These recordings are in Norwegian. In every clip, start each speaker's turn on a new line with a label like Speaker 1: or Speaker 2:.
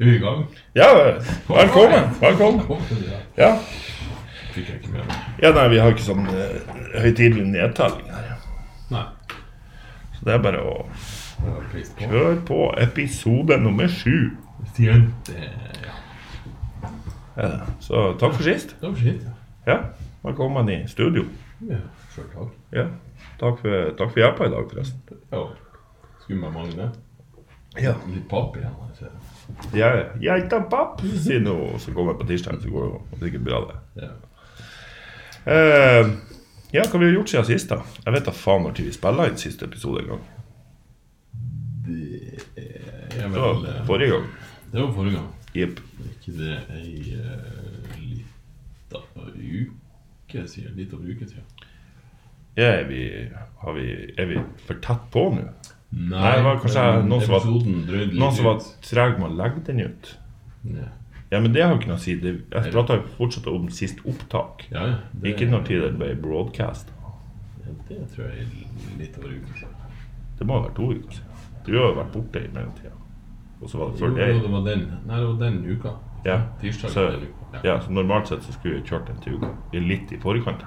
Speaker 1: Er vi i gang?
Speaker 2: Ja, velkommen. Velkommen. Ja.
Speaker 1: Fikk jeg ikke med meg.
Speaker 2: ja, nei, vi har ikke sånn eh, høytidelig nedtelling her.
Speaker 1: Nei.
Speaker 2: Så det er bare å
Speaker 1: Det var pris på.
Speaker 2: høre på episode nummer sju.
Speaker 1: Stian, det ja.
Speaker 2: Er det. Så takk for sist.
Speaker 1: Det var skitt, ja.
Speaker 2: Ja, velkommen i studio.
Speaker 1: ja. Sjøl takk.
Speaker 2: Ja, takk for, takk for hjelpa i dag, forresten.
Speaker 1: Ja. Skulle meg mangle
Speaker 2: Ja.
Speaker 1: litt papp igjen. jeg ser det.
Speaker 2: Jeg, jeg tar papp, sier nå, og så kommer jeg på tirsdag, så går det jo sikkert bra, det.
Speaker 1: Ja.
Speaker 2: Eh, ja, hva vi har gjort siden sist, da? Jeg vet da faen når vi spilla inn siste episode en gang.
Speaker 1: Det er jeg
Speaker 2: Det var
Speaker 1: vel eh,
Speaker 2: forrige gang.
Speaker 1: Det var forrige gang.
Speaker 2: Jepp.
Speaker 1: Er ikke det ei eh, lita uke siden? Litt over en uke siden?
Speaker 2: Ja, er vi, har vi, er vi for tett på nå?
Speaker 1: Nei,
Speaker 2: Nei, det var kanskje
Speaker 1: men
Speaker 2: noen som var-
Speaker 1: episoden drøyde litt
Speaker 2: Noen som var
Speaker 1: ut.
Speaker 2: treg med å legge den ut?
Speaker 1: Ja,
Speaker 2: Ja, men det har jo ikke noe å si. Det, jeg prata jo fortsatt om sist opptak.
Speaker 1: ja. det-
Speaker 2: Ikke når tid det ble broadcast.
Speaker 1: Ja, Det tror jeg er litt over en uke siden.
Speaker 2: Det må ha vært to uker siden. Du har jo vært borte i mellomtida. Og så var det
Speaker 1: Jo,
Speaker 2: før
Speaker 1: jo,
Speaker 2: deg.
Speaker 1: det var den. Nei, det var den uka.
Speaker 2: Ja.
Speaker 1: Tirsdag
Speaker 2: Så,
Speaker 1: den uka.
Speaker 2: ja, så normalt sett så skulle vi kjørt den til uka. Litt i forkant.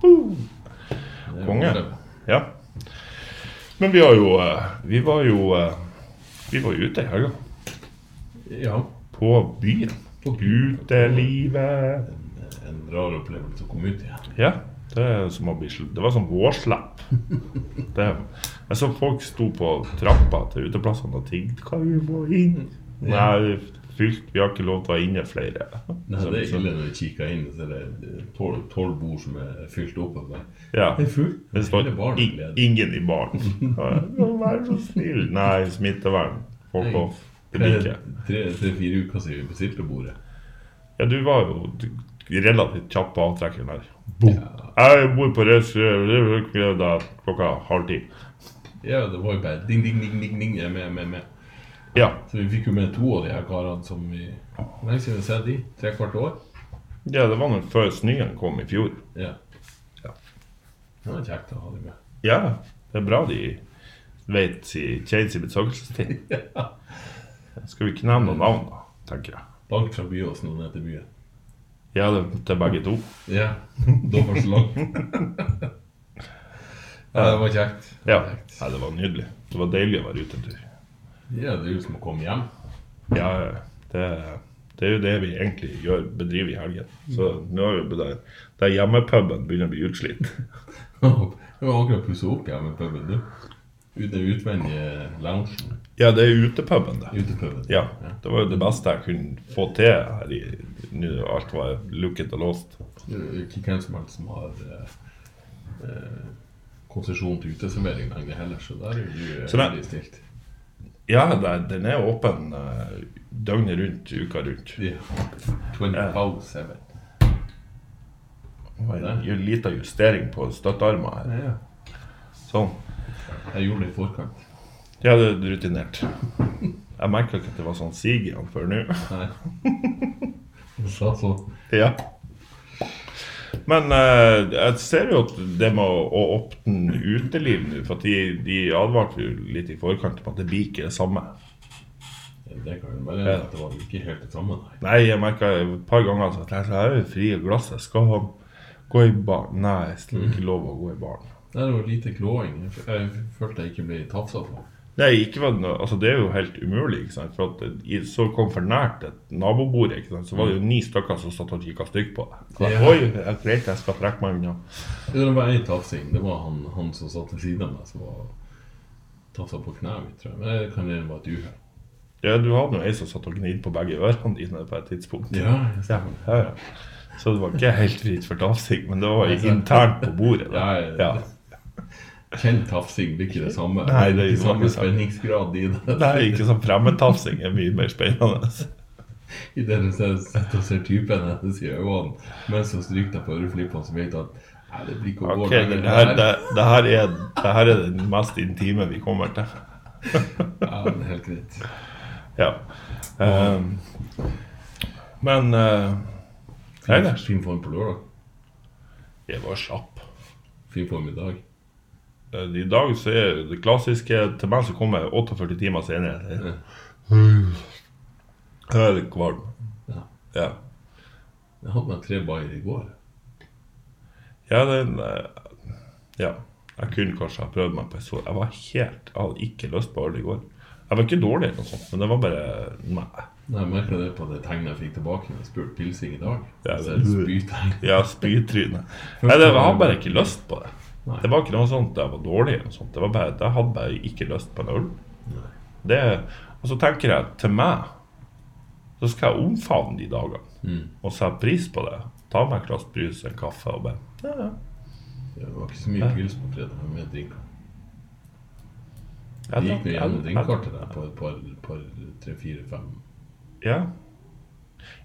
Speaker 1: Det er
Speaker 2: konge.
Speaker 1: bra.
Speaker 2: Ja. Men vi har jo eh, Vi var jo eh, Vi var jo ute i helga.
Speaker 1: Ja.
Speaker 2: På byen.
Speaker 1: På byen.
Speaker 2: Utelivet.
Speaker 1: En, en rar opplevelse å komme ut igjen.
Speaker 2: Ja, det, er som å bli, sl- det var sånn vårslepp. Det, jeg så folk sto på trappa til uteplassene og tigget. Kan vi må inn? Nei, fylt, vi har ikke lov til å ha inne flere.
Speaker 1: Nei,
Speaker 2: Så-
Speaker 1: det er
Speaker 2: så-
Speaker 1: ille når du kikker inn, så er det tolv, tolv bord som er fylt opp. Og bare,
Speaker 2: Ja.
Speaker 1: det er fullt.
Speaker 2: Det står
Speaker 1: Hele baren er
Speaker 2: i-
Speaker 1: ledig.
Speaker 2: ingen i baren. Ja, Vær så snill. Nei, smittevern. Folk
Speaker 1: Nei.
Speaker 2: off. Det blir
Speaker 1: Tre-
Speaker 2: ikke.
Speaker 1: tre- Tre-fire uker siden vi bestilte bordet.
Speaker 2: Ja, du var jo du- relativt kjapp på avtrekkeren der. Boom. Jeg bor på Rødsrud da klokka halv ti.
Speaker 1: Ja, det var jo bare ding, ding, ding, ding, ding. Jeg er med, med, med.
Speaker 2: Ja.
Speaker 1: Så vi fikk jo med to av de her karene som vi Hvor lenge siden vi har sett de? Tre kvart år?
Speaker 2: ja, det var nå før snøen kom i fjor.
Speaker 1: Ja.
Speaker 2: Ja.
Speaker 1: Det var kjekt å ha de med.
Speaker 2: Ja, det er bra de vet si, kjenner sin besøkelsestid. Skal vi ikke nevne noen navn, da, tenker jeg.
Speaker 1: Langt fra Byåsen og ned til byen.
Speaker 2: Ja, det til begge to.
Speaker 1: Ja, da var det så langt. ja, det var kjekt. Det
Speaker 2: Ja.
Speaker 1: var kjekt.
Speaker 2: Nei, det var nydelig. Det var deilig å være ute en tur.
Speaker 1: ja, det er jo som å komme hjem.
Speaker 2: Ja, det, det er jo det vi egentlig gjør, bedriver i helgen. Så nå er vi på der, der hjemmepuben begynner å bli utslitt.
Speaker 1: Jeg var akkurat pussa opp hjemme i puben, du. Ut Den utvendige loungen.
Speaker 2: Ja, det er utepuben, det.
Speaker 1: Utepuben.
Speaker 2: Ja, det var jo det beste jeg kunne få til her i nå alt var lukket og låst.
Speaker 1: Det er Ikke hvem som helst som har eh, eh, konsesjon til uteservering lenger heller, så der er jo du
Speaker 2: Så det-
Speaker 1: veldig stilt.
Speaker 2: Ja, det, den er åpen eh, døgnet rundt, uka rundt.
Speaker 1: Ja. 24-7.
Speaker 2: Det var en ju- liten justering på støttearmen her.
Speaker 1: Ja, ja.
Speaker 2: Sånn.
Speaker 1: Jeg gjorde det i forkant.
Speaker 2: Ja, det er rutinert. Jeg merka ikke at det var sånn sig i den før nå.
Speaker 1: Nei. sånn. Så, så.
Speaker 2: Ja. Men eh, jeg ser jo at det med å, å åpne uteliv nå For at de, de advarte jo litt i forkant om at det blir ikke det samme.
Speaker 1: Det kan jo være at det var ikke helt det samme, nei.
Speaker 2: Nei, jeg merka et par ganger at jeg sa, jeg er jo fri av glasset. Skal han gå i baren? Nei, jeg skal ikke lov å gå i baren.
Speaker 1: Nei, Det var lite klåing. Jeg f- Jeg følte jeg ikke ble tafsa på.
Speaker 2: Nei, ikke var det, noe- altså det er jo helt umulig. ikke sant? For at det- i- Så kom for nært et nabobord, ikke sant? så var det jo ni stykker som satt og kikka stygt på deg.
Speaker 1: Ja.
Speaker 2: Oi, ja, greit, jeg skal trekke meg unna.
Speaker 1: Det var én tafsing. Det var han, han som satt ved siden av meg, som var tafsa på kneet mitt, tror jeg. Men det kan være et uhell.
Speaker 2: Ja, Du hadde jo ei som satt og gnidde på begge ørene dine på et tidspunkt.
Speaker 1: Ja,
Speaker 2: Ja, ja, ja. Så det var ikke helt fritt for tafsing, men det var internt på bordet.
Speaker 1: ja,
Speaker 2: Da.
Speaker 1: ja.
Speaker 2: Ja.
Speaker 1: Kjent tafsing blir ikke det samme.
Speaker 2: Nei, det er
Speaker 1: ikke samme
Speaker 2: ikke samme.
Speaker 1: spenningsgrad i det.
Speaker 2: Nei, ikke sånn fremmedtafsing er mye mer spennende.
Speaker 1: I det du ser- sitter og ser typen hennes i øynene mens hun stryker deg på øreflippene, så vet du at Nei, det blir ikke å gå
Speaker 2: Ok,
Speaker 1: lenger.
Speaker 2: det her, det, det, her er, det her er det mest intime vi kommer til.
Speaker 1: Ja, det er helt greit.
Speaker 2: Ja. Ehm, men eh,
Speaker 1: Fin,
Speaker 2: Ellers?
Speaker 1: fin form på lørdag.
Speaker 2: jeg var slapp.
Speaker 1: Fin form i dag.
Speaker 2: Eh, I dag så er det klassiske Til meg så kommer jeg 48 timer senere. Jeg er litt kvalm.
Speaker 1: Ja.
Speaker 2: Ja.
Speaker 1: Jeg hadde meg tre bayer i går.
Speaker 2: Ja, den eh, Ja. Jeg kunne kanskje ha prøvd meg på en sol. Jeg var helt Jeg hadde ikke lyst på øl i går. Jeg var ikke dårlig, eller noe sånt, men det var bare Nei.
Speaker 1: Nei, Jeg merka det på det tegnet jeg fikk tilbake når jeg spurte pilsing i dag.
Speaker 2: Ja,
Speaker 1: Så
Speaker 2: det-
Speaker 1: jeg spytegn.
Speaker 2: Ja, spytryne. Nei, det, jeg hadde bare ikke lyst på det.
Speaker 1: Nei.
Speaker 2: Det var ikke noe sånt jeg var dårlig eller noe sånt. Det var bare, jeg hadde bare ikke lyst på en øl.
Speaker 1: Nei.
Speaker 2: Det, og så tenker jeg, til meg, så skal jeg omfavne de dagene.
Speaker 1: Mm.
Speaker 2: Og sette pris på det. Ta meg et glass brus, en kaffe og bare ja, ja.
Speaker 1: Det var ikke så mye pils på fredag, men med drinker. Jeg
Speaker 2: Jeg
Speaker 1: gikk nå
Speaker 2: drakk-
Speaker 1: gjennom
Speaker 2: jeg- jeg-
Speaker 1: drinkkartet der på et par, par tre-fire-fem.
Speaker 2: Ja.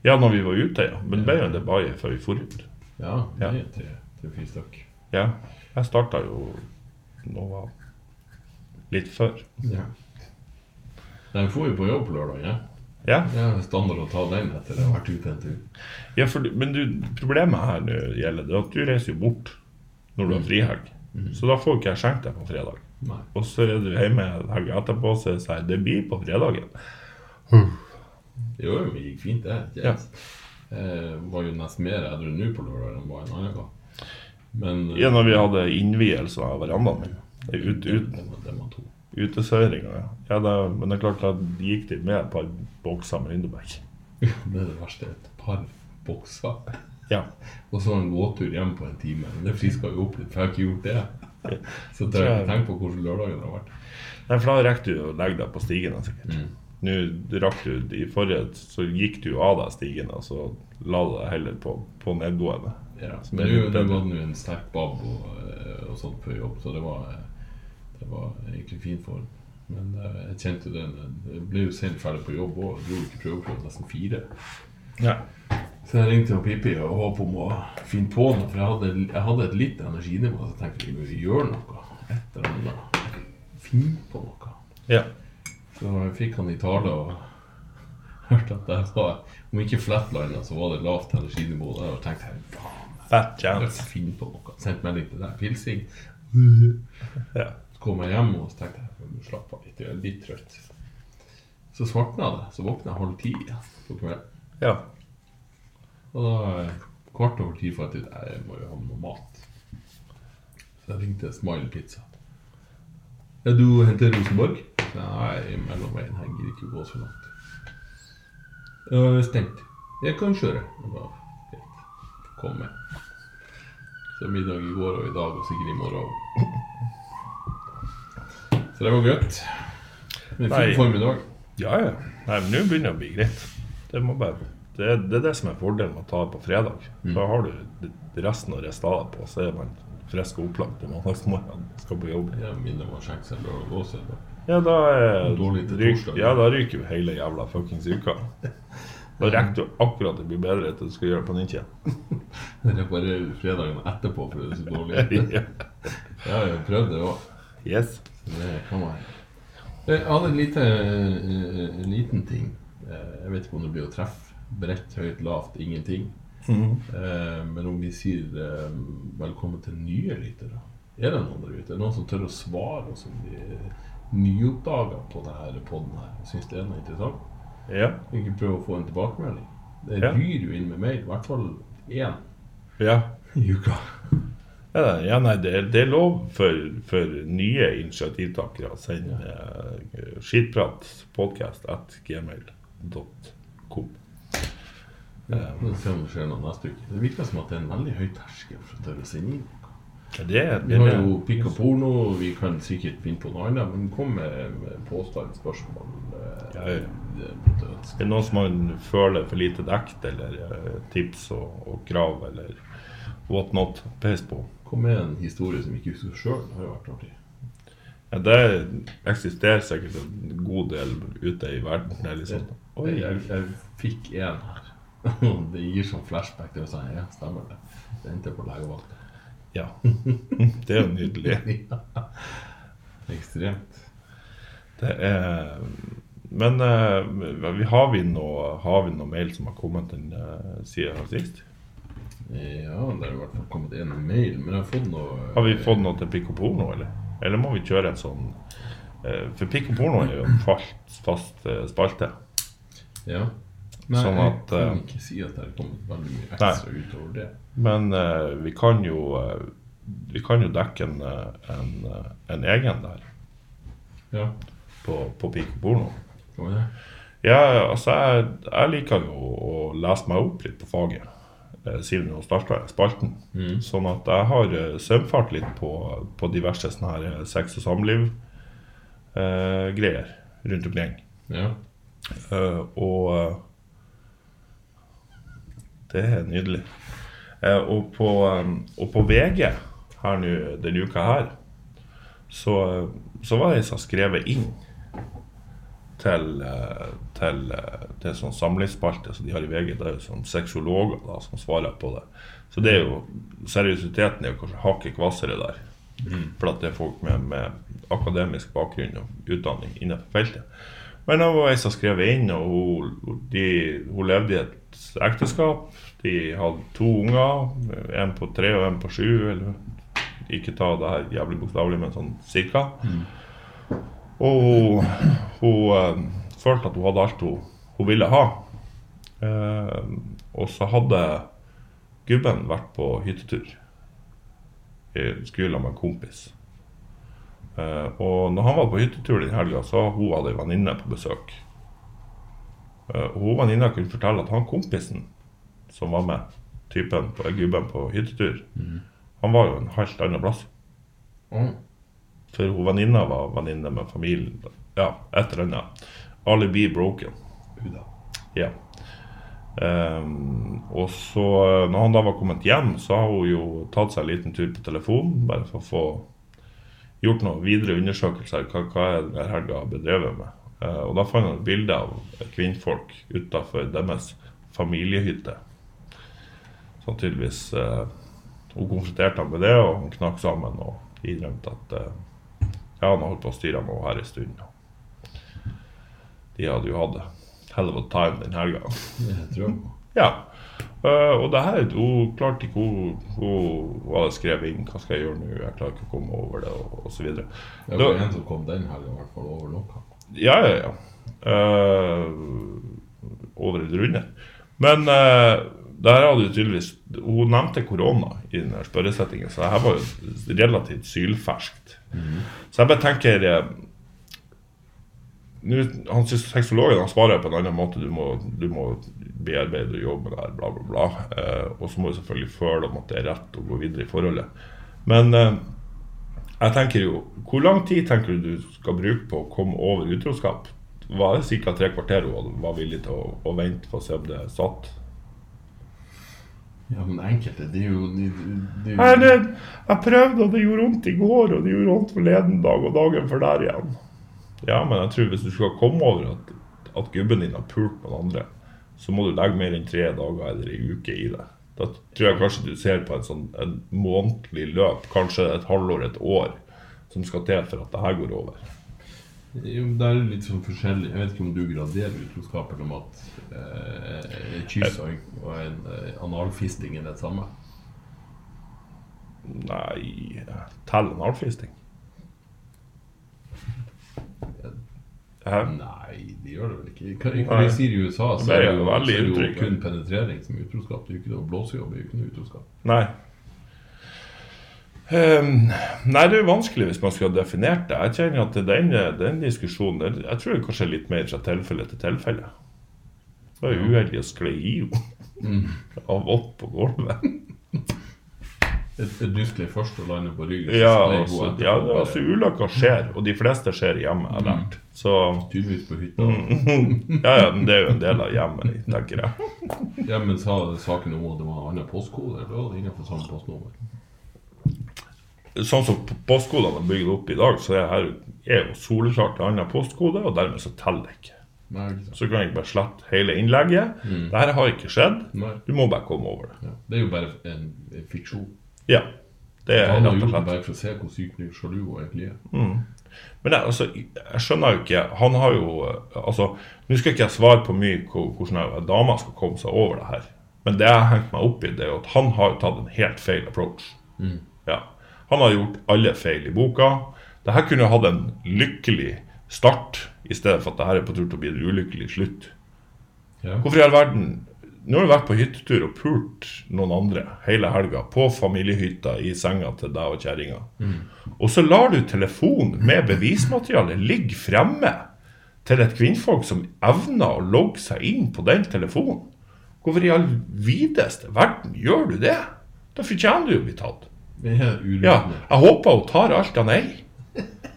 Speaker 2: ja, når vi var ute, ja. Men det ble jo en debatt før vi for ut.
Speaker 1: Ja,
Speaker 2: Ja.
Speaker 1: det er tre- tre-fire stykk.
Speaker 2: Ja. Jeg starta jo nå var litt før.
Speaker 1: Ja. De får jo på jobb på lørdag, ja.
Speaker 2: Ja.
Speaker 1: Det er standard å ta den etter å ha vært ute en tur.
Speaker 2: Ja, for, men du, problemet her nå gjelder det at du reiser jo bort når du har frihelg. Så da får ikke jeg skjenkt deg på fredag.
Speaker 1: Mm. Nei.
Speaker 2: Og så er du hjemme helga etterpå og sier jeg, det blir på fredagen.
Speaker 1: Jo, jo, det gikk fint, det.
Speaker 2: Ja.
Speaker 1: Yes. Eh, var jo nesten mer edru nå på lørdag enn var en annen gang. Men eh,
Speaker 2: Ja, når vi hadde innvielsen av verandaen min. Det er Ut, ut,
Speaker 1: det var det man tok.
Speaker 2: Utesøringa, ja. ja det, men det er klart at de gikk dit med et par bokser med Lindebekk.
Speaker 1: Det er det verste. Et par bokser.
Speaker 2: Ja.
Speaker 1: Og så en gåtur hjem på en time. Men det friska jo opp litt, for jeg har ikke gjort det. Så tør jeg ikke tenke på hvordan lørdagen har vært.
Speaker 2: Nei, for da rekker du å legge deg på stigene, sikkert.
Speaker 1: Mm.
Speaker 2: Nå du rakk du I forrige så gikk du jo av deg stigene, og så la du deg heller på, på nedgående.
Speaker 1: Ja,
Speaker 2: Som
Speaker 1: men
Speaker 2: er
Speaker 1: det,
Speaker 2: litt
Speaker 1: det
Speaker 2: bedre.
Speaker 1: var nå en sterk bab og, eh, og sånt før jobb, så det var, eh, det var egentlig fin form. Men eh, jeg kjente jo den eh, Jeg ble jo sent ferdig på jobb og dro ikke prøve på nesten fire.
Speaker 2: Ja.
Speaker 1: Så jeg ringte jo Pippi og håpet om å finne på noe, for jeg hadde, jeg hadde et litt energinivå. Så jeg tenkte vi må gjøre noe. Et eller annet. Finn på noe.
Speaker 2: ja.
Speaker 1: Så jeg fikk han i tale og hørte at jeg var Om ikke flatlanda, så var det lavt energinivå der, og tenkte jeg faen. Jeg
Speaker 2: Fat chance.
Speaker 1: skal finne på noe. Sendte melding til deg. Pilsing.
Speaker 2: Ja.
Speaker 1: Så kom jeg hjem og så tenkte jeg, «Men slapp av litt, jeg er litt trøtt. Så svartna det. Så våkna jeg halv ti igjen på kvelden.
Speaker 2: ja.
Speaker 1: Og da eh, kvart over ti fant jeg ut «Nei, jeg må jo ha med noe mat. Så jeg ringte Smile Pizza. Ja, du henter Rosenborg? Nei, mellomveien. Jeg gidder ikke å gå så langt. Ja, det er stengt. Jeg kan kjøre. Jeg ba, greit. Kom med. Så middag i går og i dag og sikkert i morgen òg. Så det var godt. Men
Speaker 2: Nei.
Speaker 1: fin formiddag.
Speaker 2: Ja, ja. Nei, men nå begynner det å bli greit. Det, må bare, det, er- det er det som er fordelen med å ta det på fredag.
Speaker 1: Mm.
Speaker 2: Da har du resten å riste av deg på, så er man frisk og opplagt til mandagsmorgen skal på jobb.
Speaker 1: Jeg minner meg å skjenke seg lørdag også. da.
Speaker 2: Ja, da, er-
Speaker 1: Dårlig til
Speaker 2: ryk,
Speaker 1: torsdag.
Speaker 2: ja, da ryker jo hele jævla fuckings uka. Da rekker du akkurat det blir bedre til du skal gjøre det på nytt igjen.
Speaker 1: Reparerer du fredagen etterpå for det er så dårlig?
Speaker 2: Ja.
Speaker 1: Ja, jeg har prøvd det òg.
Speaker 2: Yes.
Speaker 1: Det kan være. Jeg hadde en lite, eh, en liten ting. Eh, Jeg vet ikke om det blir å treffe. Bredt, høyt, lavt, ingenting.
Speaker 2: Mm.
Speaker 1: Eh, Men om vi sier eh, velkommen til nye lyttere, er det noen der ute? Er det noen som tør å svare oss om de nyoppdaga på denne poden her? Syns det er noe interessant?
Speaker 2: Ja.
Speaker 1: Kan Ikke prøve å få en tilbakemelding. Det
Speaker 2: Ja.
Speaker 1: ryr jo inn med mail, i hvert fall én
Speaker 2: ja.
Speaker 1: i uka.
Speaker 2: Ja, ja, nei, det, er- det er lov for, for nye initiativtakere å sende eh, skittpratpodkast at gmail.com. Eh,
Speaker 1: Ja, vi får se om det skjer noe neste uke. Det virker som at det er en veldig høy terskel for å tørre å sende inn.
Speaker 2: Ja, Det, er-
Speaker 1: Vi
Speaker 2: det,
Speaker 1: har
Speaker 2: er-
Speaker 1: jo pikk og porno, vi kan sikkert finne på noe annet, men kom med, med påstand, spørsmål eh,
Speaker 2: Ja, ja.
Speaker 1: det måtte jeg ønske.
Speaker 2: det er noen som man føler for lite dekt, eller eh, tips og, og krav, eller what not. Pes på.
Speaker 1: Kom med en historie som ikke husker sjøl. Det har jo vært artig.
Speaker 2: Ja, det eksisterer sikkert en god del ute i verden. Det er litt sånn
Speaker 1: Jeg,
Speaker 2: Oi,
Speaker 1: jeg, jeg fikk én her. Og det gir sånn flashback til å si ja, stemmer det. Det endte på legevakta.
Speaker 2: ja. Det er jo nydelig.
Speaker 1: Ekstremt.
Speaker 2: Det er Men eh, vi- har vi noe, har vi noe mail som har kommet den eh, siden sist?
Speaker 1: Ja, det har i hvert fall kommet en mail, men jeg har fått noe
Speaker 2: Har vi fått noe til Pikk og porno, eller? Eller må vi kjøre en sånn eh, For Pikk og porno er jo en fast, fast eh, spalte.
Speaker 1: Ja. Nei,
Speaker 2: Sånn at,
Speaker 1: jeg kan
Speaker 2: eh,
Speaker 1: ikke si at det er kommet veldig mye ekstra utover det.
Speaker 2: Men eh, vi kan jo eh, Vi kan jo dekke en, eh, en, eh, en egen der
Speaker 1: Ja,
Speaker 2: på, på Pico Porno.
Speaker 1: kan vi det?
Speaker 2: Ja, altså jeg, jeg liker jo å lese meg opp litt på faget eh, siden nå starta spalten.
Speaker 1: Mm.
Speaker 2: Sånn at jeg har eh, sømfart litt på, på diverse sånne her eh, sex og samliv-greier rundt omkring.
Speaker 1: Ja.
Speaker 2: Eh, og eh, det er nydelig. Eh, og, på, eh, og på VG her nå denne uka her, så, eh, så var det ei som skrevet inn til, eh, til, eh, til en sånn samlingsspalte som de har i VG. Det er jo sånn sexologer da, som svarer på det. Så det er jo, seriøsiteten er jo kanskje hakket kvassere der. For at det er folk med, med akademisk bakgrunn og utdanning innenfor feltet. Men det var ei som skrev inn, og hun, de, hun levde i et ekteskap. De hadde to unger, en på tre og en på sju. Eller, ikke ta det her jævlig bokstavelig, men sånn cirka. Og hun, hun eh, følte at hun hadde alt hun, hun ville ha. Eh, og så hadde gubben vært på hyttetur. Jeg Skulle sammen med en kompis. Eh, og når han var på hyttetur den helga, så hun hadde ei venninne på besøk. Eh, og hun venninna kunne fortelle at han kompisen som var med, typen på eh, gubben på hyttetur, han var jo en halvt annen plass.
Speaker 1: Å,
Speaker 2: For hun venninna var venninne med familien. Ja, et eller annet. Alibi broken.
Speaker 1: Huda.
Speaker 2: Ja. Ehm, og så, eh, når han da var kommet hjem, så har hun jo tatt seg en liten tur på telefonen, bare for å få gjort noen videre undersøkelser. Hva, hva er det denne helga har bedrevet med? Eh, og da fant han et bilde av kvinnfolk utafor deres familiehytte. Så han tydeligvis eh, Hun konfronterte ham med det, og han knakk sammen og innrømte at eh, ja, han har holdt på å styre med henne her en stund. og De hadde jo hatt det. Hell of a time den helga.
Speaker 1: Jeg tror jeg på.
Speaker 2: Ja. Eh, og det her Hun klarte ikke Hun, hun, hun hadde skrevet inn hva skal jeg gjøre nå, jeg klarer ikke å komme over det, og osv.
Speaker 1: Det var en som kom den helga, i hvert fall over noe.
Speaker 2: Ja, ja, ja. Eh, over eller under. Men eh, det her hadde jo tydeligvis Hun nevnte korona i den her spørresettingen, så det her var jo relativt sylferskt. Så jeg bare tenker eh, nå, han synes Sexologen han svarer på en annen måte. Du må, du må bearbeide og jobbe med det her, bla, bla, bla. Eh, og så må du selvfølgelig føle om at det er rett å gå videre i forholdet. Men eh, jeg tenker jo Hvor lang tid tenker du du skal bruke på å komme over utroskap? Var det ca. tre kvarter hun hadde- var villig til å, å vente for å se om det satt?
Speaker 1: Ja, men enkelte, de er jo de, de, de,
Speaker 2: Nei, det, jeg prøvde, og det gjorde vondt i går, og det gjorde vondt forleden dag, og dagen før der igjen. Ja, men jeg tror hvis du skal komme over at, at gubben din har pult noen andre, så må du legge mer enn tre dager eller ei uke i det. Da tror jeg kanskje du ser på en sånn en månedlig løp, kanskje et halvår, et år, som skal til for at det her går over.
Speaker 1: Jo, men Det er jo litt sånn forskjellig. Jeg vet ikke om du graderer utroskap eller om at eh, et kyss og en- og en eh, analfisting er det samme.
Speaker 2: Nei Tell en alfisting. Hæ?
Speaker 1: Nei, det gjør det vel ikke. Hva, hva
Speaker 2: Nei.
Speaker 1: de sier i USA, så
Speaker 2: Det
Speaker 1: er
Speaker 2: er
Speaker 1: det
Speaker 2: jo
Speaker 1: jo,
Speaker 2: veldig
Speaker 1: så er det jo
Speaker 2: uttrykt.
Speaker 1: kun penetrering som er utroskap. Det er jo ikke noe blåsejobb, det er jo ikke noe utroskap.
Speaker 2: Nei. Ehm, nei, det er jo vanskelig hvis man skulle ha definert det. Jeg kjenner at den, den diskusjonen den- Jeg tror det kanskje er litt mer fra tilfelle til tilfelle. Det var jo uheldig å skli i henne. Av opp på gulvet.
Speaker 1: Et, et dyskley først og lander på ryggen. så
Speaker 2: Ja,
Speaker 1: sklei hun
Speaker 2: altså,
Speaker 1: etterpå,
Speaker 2: ja, det-
Speaker 1: bare
Speaker 2: altså ulykker skjer, og de fleste skjer hjemme, jeg har lært. Så
Speaker 1: Tydeligvis på hytta.
Speaker 2: Mm. ja, ja, men det er jo en del av hjemmet, tenker jeg.
Speaker 1: Ja, men sa saken om at det var en annen postkode? eller var det innenfor samme postnummer?
Speaker 2: sånn som p- postkodene er bygd opp i dag, så er her er jo soleklart en annen postkode, og dermed så teller det ikke.
Speaker 1: Nei, ikke sant.
Speaker 2: Så kan jeg bare slette hele innlegget. Det her har ikke skjedd.
Speaker 1: Nei.
Speaker 2: Du må bare komme over det.
Speaker 1: Ja. Det er jo bare en, en fiksjon.
Speaker 2: Ja. Det er
Speaker 1: Han har gjort
Speaker 2: rett og
Speaker 1: det
Speaker 2: slett.
Speaker 1: bare for å se hvor sykt ny sjalu hun egentlig er.
Speaker 2: Men jeg, altså, jeg skjønner jo ikke Han har jo eh, Altså, nå skal ikke jeg svare på mye hvor- hvordan en dame skal komme seg over det her, men det jeg har hengt meg opp i, det er jo at han har jo tatt en helt feil approach. Ja. Han har gjort alle feil i boka. Dette kunne hatt en lykkelig start, i stedet for at det her er på tur til å bli en ulykkelig slutt.
Speaker 1: Ja.
Speaker 2: Hvorfor i all verden Nå har du vært på hyttetur og pult noen andre hele helga på familiehytta i senga til deg og kjerringa. Og så lar du telefonen med bevismateriale ligge fremme til et kvinnfolk som evner å logge seg inn på den telefonen. Hvorfor i all videste verden gjør du det? Da fortjener du å bli tatt.
Speaker 1: Det er uryddig.
Speaker 2: Ja, jeg håper hun tar alt han eier.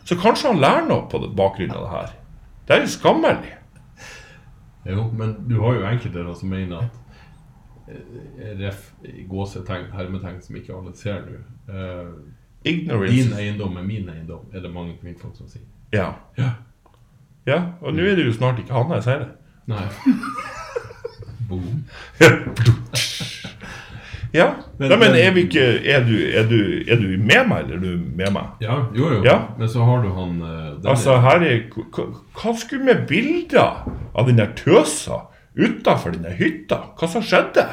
Speaker 2: Så kanskje han lærer noe på bakgrunn av det her. Det er jo skammelig.
Speaker 1: Jo, men du har jo enkelte da som mener at eh, ref, i gåsetegn, hermetegn som ikke alle ser nå eh, Din
Speaker 2: Ignorance.
Speaker 1: eiendom er min eiendom, er det mange kvinnfolk som sier.
Speaker 2: Ja.
Speaker 1: Ja.
Speaker 2: ja. Og nå er det jo snart ikke han jeg sier det.
Speaker 1: Nei. Boom.
Speaker 2: Ja.
Speaker 1: Men-
Speaker 2: Nei, men er vi ikke Er du, er du, er du med meg, eller er du med meg?
Speaker 1: Ja, jo, jo.
Speaker 2: Ja.
Speaker 1: Men så har du han eh, den-
Speaker 2: Altså, her er Hva hva skulle med bilder av den der tøsa utafor den der hytta? Hva som skjedde?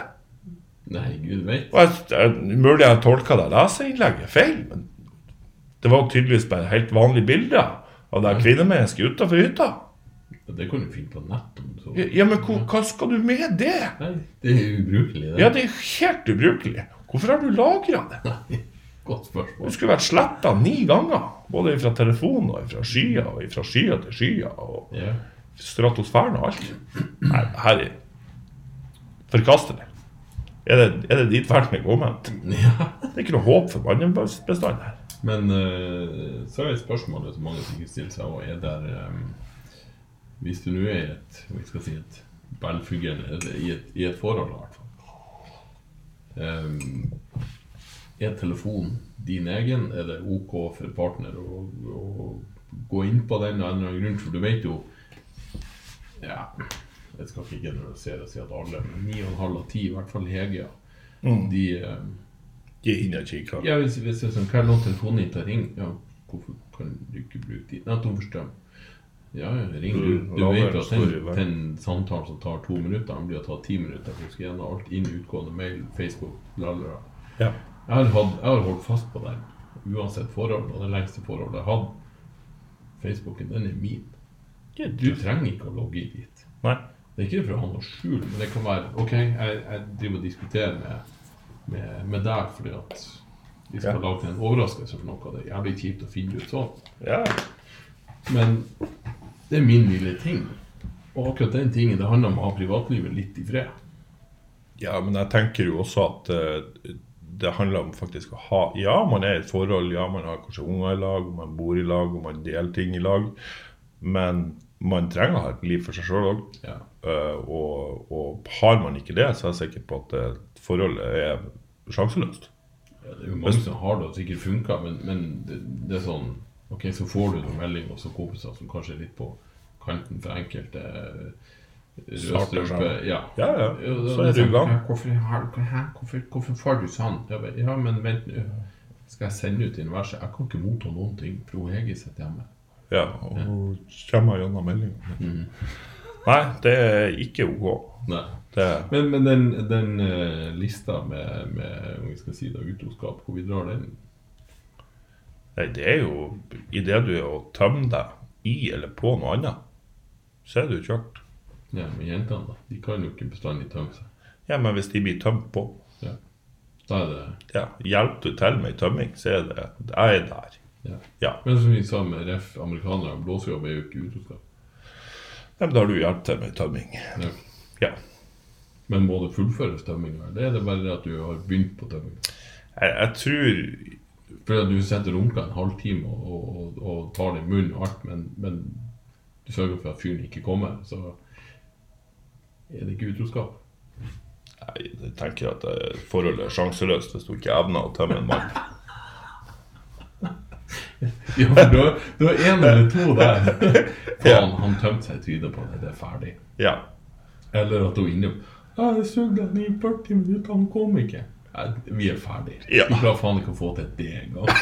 Speaker 1: Nei, gud veit.
Speaker 2: Og jeg, jeg, mulig jeg tolka det leserinnlegget feil, men det var tydeligvis bare helt vanlige bilder av det kvinnemennesket utafor hytta.
Speaker 1: Det kan du finne på nett om du så.
Speaker 2: Ja, ja, men hva, hva skal du med det?
Speaker 1: Nei, det er ubrukelig, det.
Speaker 2: Ja, det er helt ubrukelig. Hvorfor har du lagra det?
Speaker 1: Godt spørsmål.
Speaker 2: Du skulle vært sletta ni ganger. Både fra telefonen og fra skya og fra skya til skya og
Speaker 1: Ja.
Speaker 2: stratosfæren og alt. Nei, her er Forkastelig. Er det, er det dit verden er kommet?
Speaker 1: ja.
Speaker 2: Det er ikke noe håp for mannebestanden her.
Speaker 1: Men eh, så er spørsmålet som mange sikkert stiller seg, og er der eh, Hvis du nå er i et om vi skal si et velfungerende eller i et, i et forhold, i hvert fall eh, Er telefonen din egen? Er det OK for partner å, å gå inn på den av en eller annen grunn? For du vet jo Ja, jeg skal ikke generalisere og si at alle, men 9,5 av 10, i hvert fall Hege, de eh,
Speaker 2: Gi inn og kikke.
Speaker 1: ja, hvis, hvis det er sånn, hva er det når telefonen din tar ring? Ja, hvorfor kan du ikke bruke de? Nei, tom for strøm. Ja, ja, ring du.
Speaker 2: Mm,
Speaker 1: Du
Speaker 2: la
Speaker 1: vet
Speaker 2: være
Speaker 1: at den,
Speaker 2: story, vel.
Speaker 1: den samtalen som tar to minutter, den blir å ta ti minutter. For du skal gjennom alt inn, utgående mail, Facebook, lalala.
Speaker 2: Ja.
Speaker 1: Jeg har, hatt, jeg har holdt fast på den, uansett forhold, og det lengste forholdet jeg hadde. Facebooken, den er min. Du trenger ikke å logge inn dit.
Speaker 2: Nei.
Speaker 1: Det er ikke for å ha noe skjul, men det kan være OK, jeg, jeg driver og diskuterer med, med, med deg fordi at vi skal
Speaker 2: Ja.
Speaker 1: lage en overraskelse for noe. Det er jævlig kjipt å finne ut sånn.
Speaker 2: Ja.
Speaker 1: Men det er min lille ting. Og akkurat den tingen det handler om å ha privatlivet litt i fred.
Speaker 2: ja, men jeg tenker jo også at eh, det handler om faktisk å ha Ja, man er i et forhold, ja, man har kanskje unger i lag, man bor i lag, og man deler ting i lag. Men man trenger å ha et liv for seg sjøl òg.
Speaker 1: Ja.
Speaker 2: Og, og har man ikke det, så er jeg sikker på at eh, forholdet er sjanseløst.
Speaker 1: Det er jo mange som har det og sikkert funka, men, men det, det er sånn Ok, så får du noen melding også kompiser som kanskje er litt på kanten for enkelte. eh,
Speaker 2: Starter
Speaker 1: Rødstrupe.
Speaker 2: sammen.
Speaker 1: Ja.
Speaker 2: Ja, ja.
Speaker 1: Ja, da
Speaker 2: Så er du i
Speaker 1: liksom,
Speaker 2: gang.
Speaker 1: «Hæ, Hvorfor, har du- hæ, hvorfor, hvorfor får du sånn? Ja, men- ja, men vent nå. Skal jeg sende ut i universet? Jeg kan ikke motta noen ting, for hun Hege sitter hjemme.
Speaker 2: Ja, og kommer gjennom meldinga. Nei, det er ikke OK.
Speaker 1: Nei.
Speaker 2: Det er
Speaker 1: Men, men den, den eh, lista med, med om vi skal si det, utroskap, hvor vi drar den
Speaker 2: Nei, det er jo idet du er å tømme deg i eller på noe annet, så er du kjørt.
Speaker 1: ja, med jentene, da. De kan jo ikke bestandig tømme seg.
Speaker 2: Ja, men hvis de blir tømt på,
Speaker 1: Da er det
Speaker 2: ja, hjelper du til med ei tømming, så er det Jeg er der.
Speaker 1: ja.
Speaker 2: Ja.
Speaker 1: Men som vi sa med ref. amerikanere, blåsejobb er jo ikke utroskap.
Speaker 2: Nei, men da har du hjulpet til med ei tømming.
Speaker 1: Ja.
Speaker 2: Ja.
Speaker 1: Men må det fullføres tømminga, eller er det bare det at du har begynt på tømminga?
Speaker 2: Jeg, jeg tror
Speaker 1: Fordi at du sitter og runker en halvtime og, og, og, og tar det i munnen og alt, men, men du sørger for at fyren ikke kommer, så er det ikke utroskap.
Speaker 2: Nei, jeg tenker at eh, forholdet er sjanseløst hvis du ikke evner å tømme en mann.
Speaker 1: Ja, for du har- du har én eller to der. Faen, han tømte seg i trynet på det. Det er ferdig.
Speaker 2: Ja.
Speaker 1: Eller at hun er inne Ja, jeg sugde han i 40 minutter, han kom ikke. Nei, vi er ferdig.
Speaker 2: Ja.
Speaker 1: Du klarer faen ikke å få til det engang.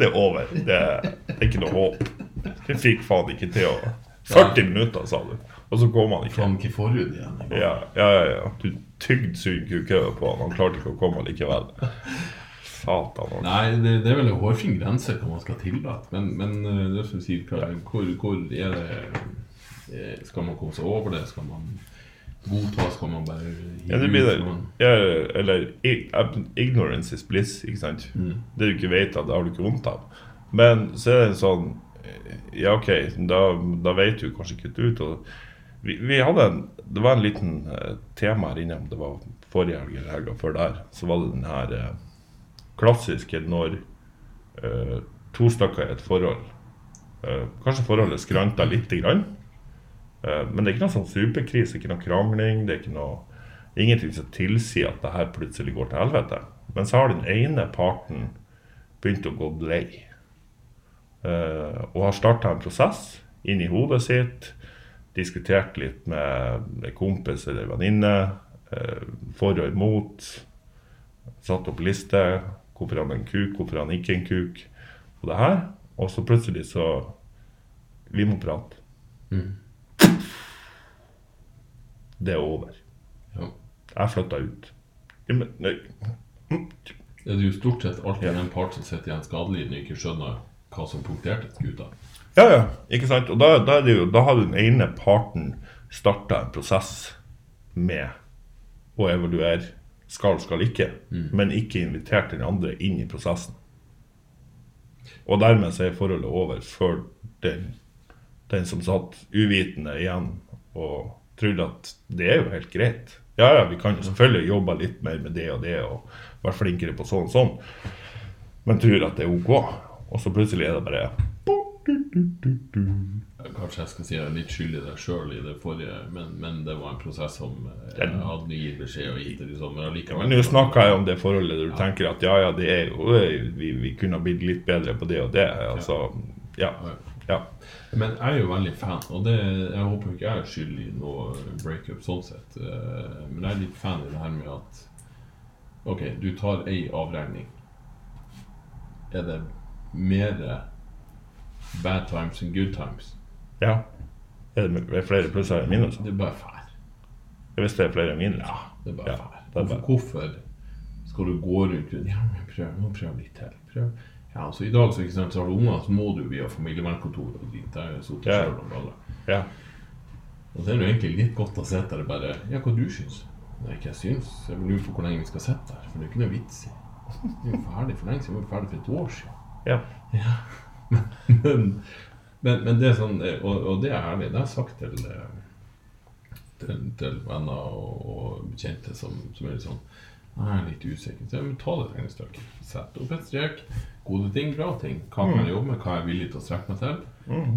Speaker 2: Det er over. Det er, det er ikke noe håp. Jeg fikk faen ikke til å 40 minutter, sa du. Og så kom han ikke.
Speaker 1: Faen ikke forhud igjen. engang.
Speaker 2: Ja, ja, ja, ja. Du tygde sugd kukøye på han. Han klarte ikke å komme likevel. Satan. altså. Han.
Speaker 1: Nei, det, det er vel en hårfin grense hva man skal tillate. Men, men eh, det som du sier, hva, hvor, hvor er det eh, Skal man komme seg over det? Skal man Godtas kan man bare
Speaker 2: Ja, det blir det. Ja, eller i- ignorance is bliss, ikke sant?
Speaker 1: Mm.
Speaker 2: Det du ikke vet av, det har du ikke vondt av. Men så er det en sånn Ja, OK, da, da vet du kanskje ikke ut. Og vi, vi hadde en, det var en liten eh, tema her inne, om det var forrige helg eller helga før der, så var det den her eh, klassiske når eh, to stykker i et forhold eh, Kanskje forholdet skranter lite grann, eh, men det er ikke noe sånn superkrise, ikke noe krangling, det er ikke noe ingenting som tilsier at det her plutselig går til helvete. Men så har den ene parten begynt å gå lei. Eh, og har starta en prosess inn i hodet sitt. Diskutert litt med en kompis eller en venninne. eh, for og imot. Satt opp liste. Hvorfor han en kuk, hvorfor han ikke en kuk. Og det her. Og så plutselig så Vi må prate.
Speaker 1: Mm.
Speaker 2: Det er over.
Speaker 1: Ja.
Speaker 2: Jeg flytta ut. Ja, men, nei. Mm,
Speaker 1: Det er jo stort sett alltid
Speaker 2: Ja.
Speaker 1: den part som sitter igjen skadelidende og ikke skjønner hva som punkterte skuta.
Speaker 2: ja, ja, ikke sant? Og da, da, er det jo, da har den ene parten starta en prosess med å evaluere skal, skal ikke, men ikke invitert den andre inn i prosessen. Og dermed så er forholdet over før den, den som satt uvitende igjen og trodde at det er jo helt greit. Ja, ja, vi kan jo selvfølgelig jobbe litt mer med det og det og være flinkere på sånn og sånn, men tror at det er ok. Og så plutselig er det bare
Speaker 1: Kanskje jeg skal si jeg er litt skyld i det sjøl i det forrige, men, men det var en prosess som eh,
Speaker 2: Den-
Speaker 1: jeg hadde gitt beskjed og gitt det liksom. Men
Speaker 2: Ja,
Speaker 1: allikevel
Speaker 2: men Nå snakker jeg om det forholdet der du tenker at ja, ja, det er jo vi, vi kunne ha blitt litt bedre på det og det. Altså, ja. ja.
Speaker 1: Men jeg er jo veldig fan, og det, jeg håper jo ikke jeg er skyld i noe breakup sånn sett. eh, Men jeg er litt fan i det her med at OK, du tar ei avregning. Er det mer bad times enn good times?
Speaker 2: ja. Er det er det flere plusser enn minuser?
Speaker 1: Det er bare fær.
Speaker 2: Hvis det er flere minus? Ja.
Speaker 1: Det er bare
Speaker 2: Ja,
Speaker 1: fær.
Speaker 2: det er bare-
Speaker 1: Hvorfor skal du gå rundt og Ja, men prøv, nå prøv litt til. Prøv. Ja, altså I dag så, ikke sant, så har du unger, så må du via familievernkontoret og dit. Der har jeg sittet
Speaker 2: Ja.
Speaker 1: sjøl og balla.
Speaker 2: ja.
Speaker 1: Og så er det jo egentlig litt godt å sitte der og bare Ja, hva du syns? Nei, ikke jeg syns. Jeg bare lurer på hvor lenge vi skal sitte der. For det er jo ikke noe vits i. Vi er jo ferdig for lenge siden. Vi var jo ferdig for et år siden.
Speaker 2: ja.
Speaker 1: Men, men, men det er sånn og, og det er ærlig. Det har jeg sagt til, eh, til, til venner og, og bekjente som, som er litt sånn Jeg er litt usikker. Så jeg vil ta det regnestykket. Sett opp et strek. Gode ting, bra ting. Hva kan jeg jobbe med? Hva er jeg villig til å strekke meg til?
Speaker 2: Mm.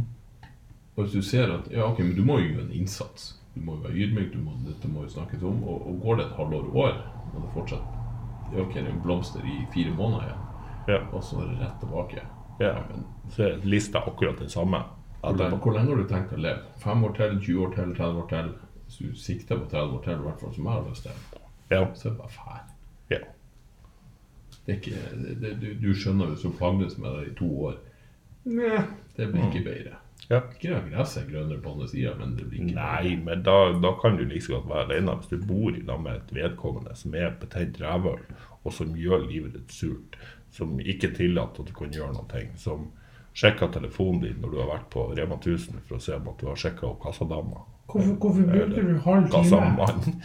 Speaker 1: Og hvis du ser at ja, ok, men du må jo gjøre en innsats. Du må jo være ydmyk, du må, dette må jo snakkes om. Og, og går det et halvår år, og det fortsatt ja, ok, det er en blomster i fire måneder igjen,
Speaker 2: ja.
Speaker 1: og så er det rett tilbake.
Speaker 2: ja.
Speaker 1: Ja, men
Speaker 2: Så er lista akkurat den samme.
Speaker 1: hvor
Speaker 2: At det
Speaker 1: lenge, hvor lenge har du tenkt å leve? Fem år til? 20 år til? 30 år til? Hvis du sikter på 30 år til, i hvert fall som jeg har lyst til,
Speaker 2: ja.
Speaker 1: så er det bare fæl.
Speaker 2: Ja.
Speaker 1: Det er ikke, det, det, du, du skjønner hvis du plagdes med det i to år. Nei, det blir
Speaker 2: Mm.
Speaker 1: ikke bedre.
Speaker 2: Ja.
Speaker 1: Ikke det at gresset er grønnere på andre sida, men det blir ikke
Speaker 2: Nei, men da, da kan du like så godt være alene hvis du bor i lag med et vedkommende som er et betent rævhøl, og som gjør livet ditt surt, som ikke tillater at du kan gjøre noe, som sjekker telefonen din når du har vært på Rema 1000 for å se om at du har sjekka opp kassadama.
Speaker 1: Hvorfor, hvorfor brukte du halv Eh,
Speaker 2: Kassamann.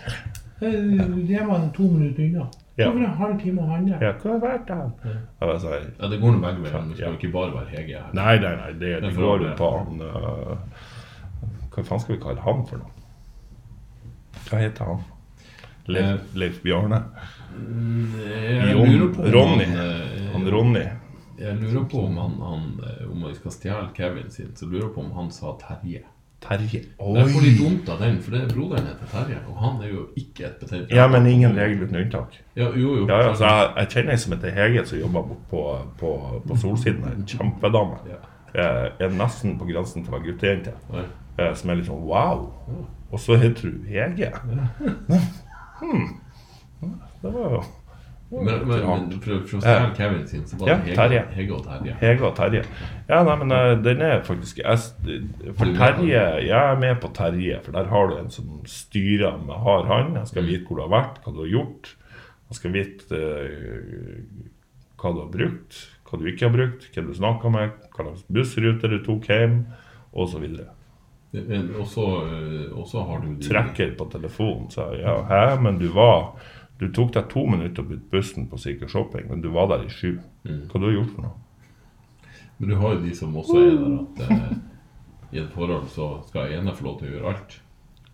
Speaker 1: Det var to minutter unna.
Speaker 2: Ja. Hvorfor
Speaker 1: en halv time å handle?
Speaker 2: Ja, hva har vært der? Jeg bare sier,
Speaker 1: Ja, det går nå begge veier. men Det skal
Speaker 2: Ja.
Speaker 1: jo ikke bare være Hege her.
Speaker 2: Nei, nei, nei, det, det
Speaker 1: Men for
Speaker 2: går
Speaker 1: alle-
Speaker 2: jo på han øh, Hva faen skal vi kalle han for noe? Hva heter
Speaker 1: Eh,
Speaker 2: han? Leif, Leif Bjarne?
Speaker 1: Mm, Jeg
Speaker 2: Jon-
Speaker 1: lurer på om
Speaker 2: Ronny.
Speaker 1: Han,
Speaker 2: Han
Speaker 1: eh,
Speaker 2: Ronny?
Speaker 1: jeg lurer på om han, han eh, Om vi skal stjele Kevin sin, så lurer jeg på om han sa Terje.
Speaker 2: Terje.
Speaker 1: Jeg får litt vondt av den, for det er broderen heter Terje, og han er jo ikke et betent
Speaker 2: Ja, men ingen regel uten unntak.
Speaker 1: Ja, jo, jo.
Speaker 2: Ja, altså, jeg, jeg kjenner ei som heter Hege, som jobber på, på, på, på Solsiden. En kjempedame.
Speaker 1: Ja.
Speaker 2: Eh, Er nesten på grensen til å være guttejente.
Speaker 1: Nei.
Speaker 2: Eh, Som er litt sånn wow. Og så heter du Hege. Hmm. Det var jo
Speaker 1: Men, men, men for, for å
Speaker 2: Ja.
Speaker 1: stjele Kevin sin, så
Speaker 2: Ja,
Speaker 1: var det Hege,
Speaker 2: Terje.
Speaker 1: Hege og Terje.
Speaker 2: Hege og Terje. Ja, nei, men eh, den er faktisk jeg, s- For
Speaker 1: Du er med på den.
Speaker 2: Terje Jeg er med på Terje, for der har du en som styrer med hard hånd. Han skal vite hvor du har vært, hva du har gjort. Han skal vite eh, hva du har brukt, hva du ikke har brukt, hvem du snakka med, hva slags bussrute du tok hjem, osv.
Speaker 1: Men også, eh, også har du de-
Speaker 2: Trekker på telefonen sa jeg, ja, hæ, men du var Du tok deg to minutter å bytte bussen på Sikker Shopping, men du var der i sju. Hva du har gjort for noe?
Speaker 1: Men du har jo de som også er der at eh, i et forhold så skal ene få lov til å gjøre alt.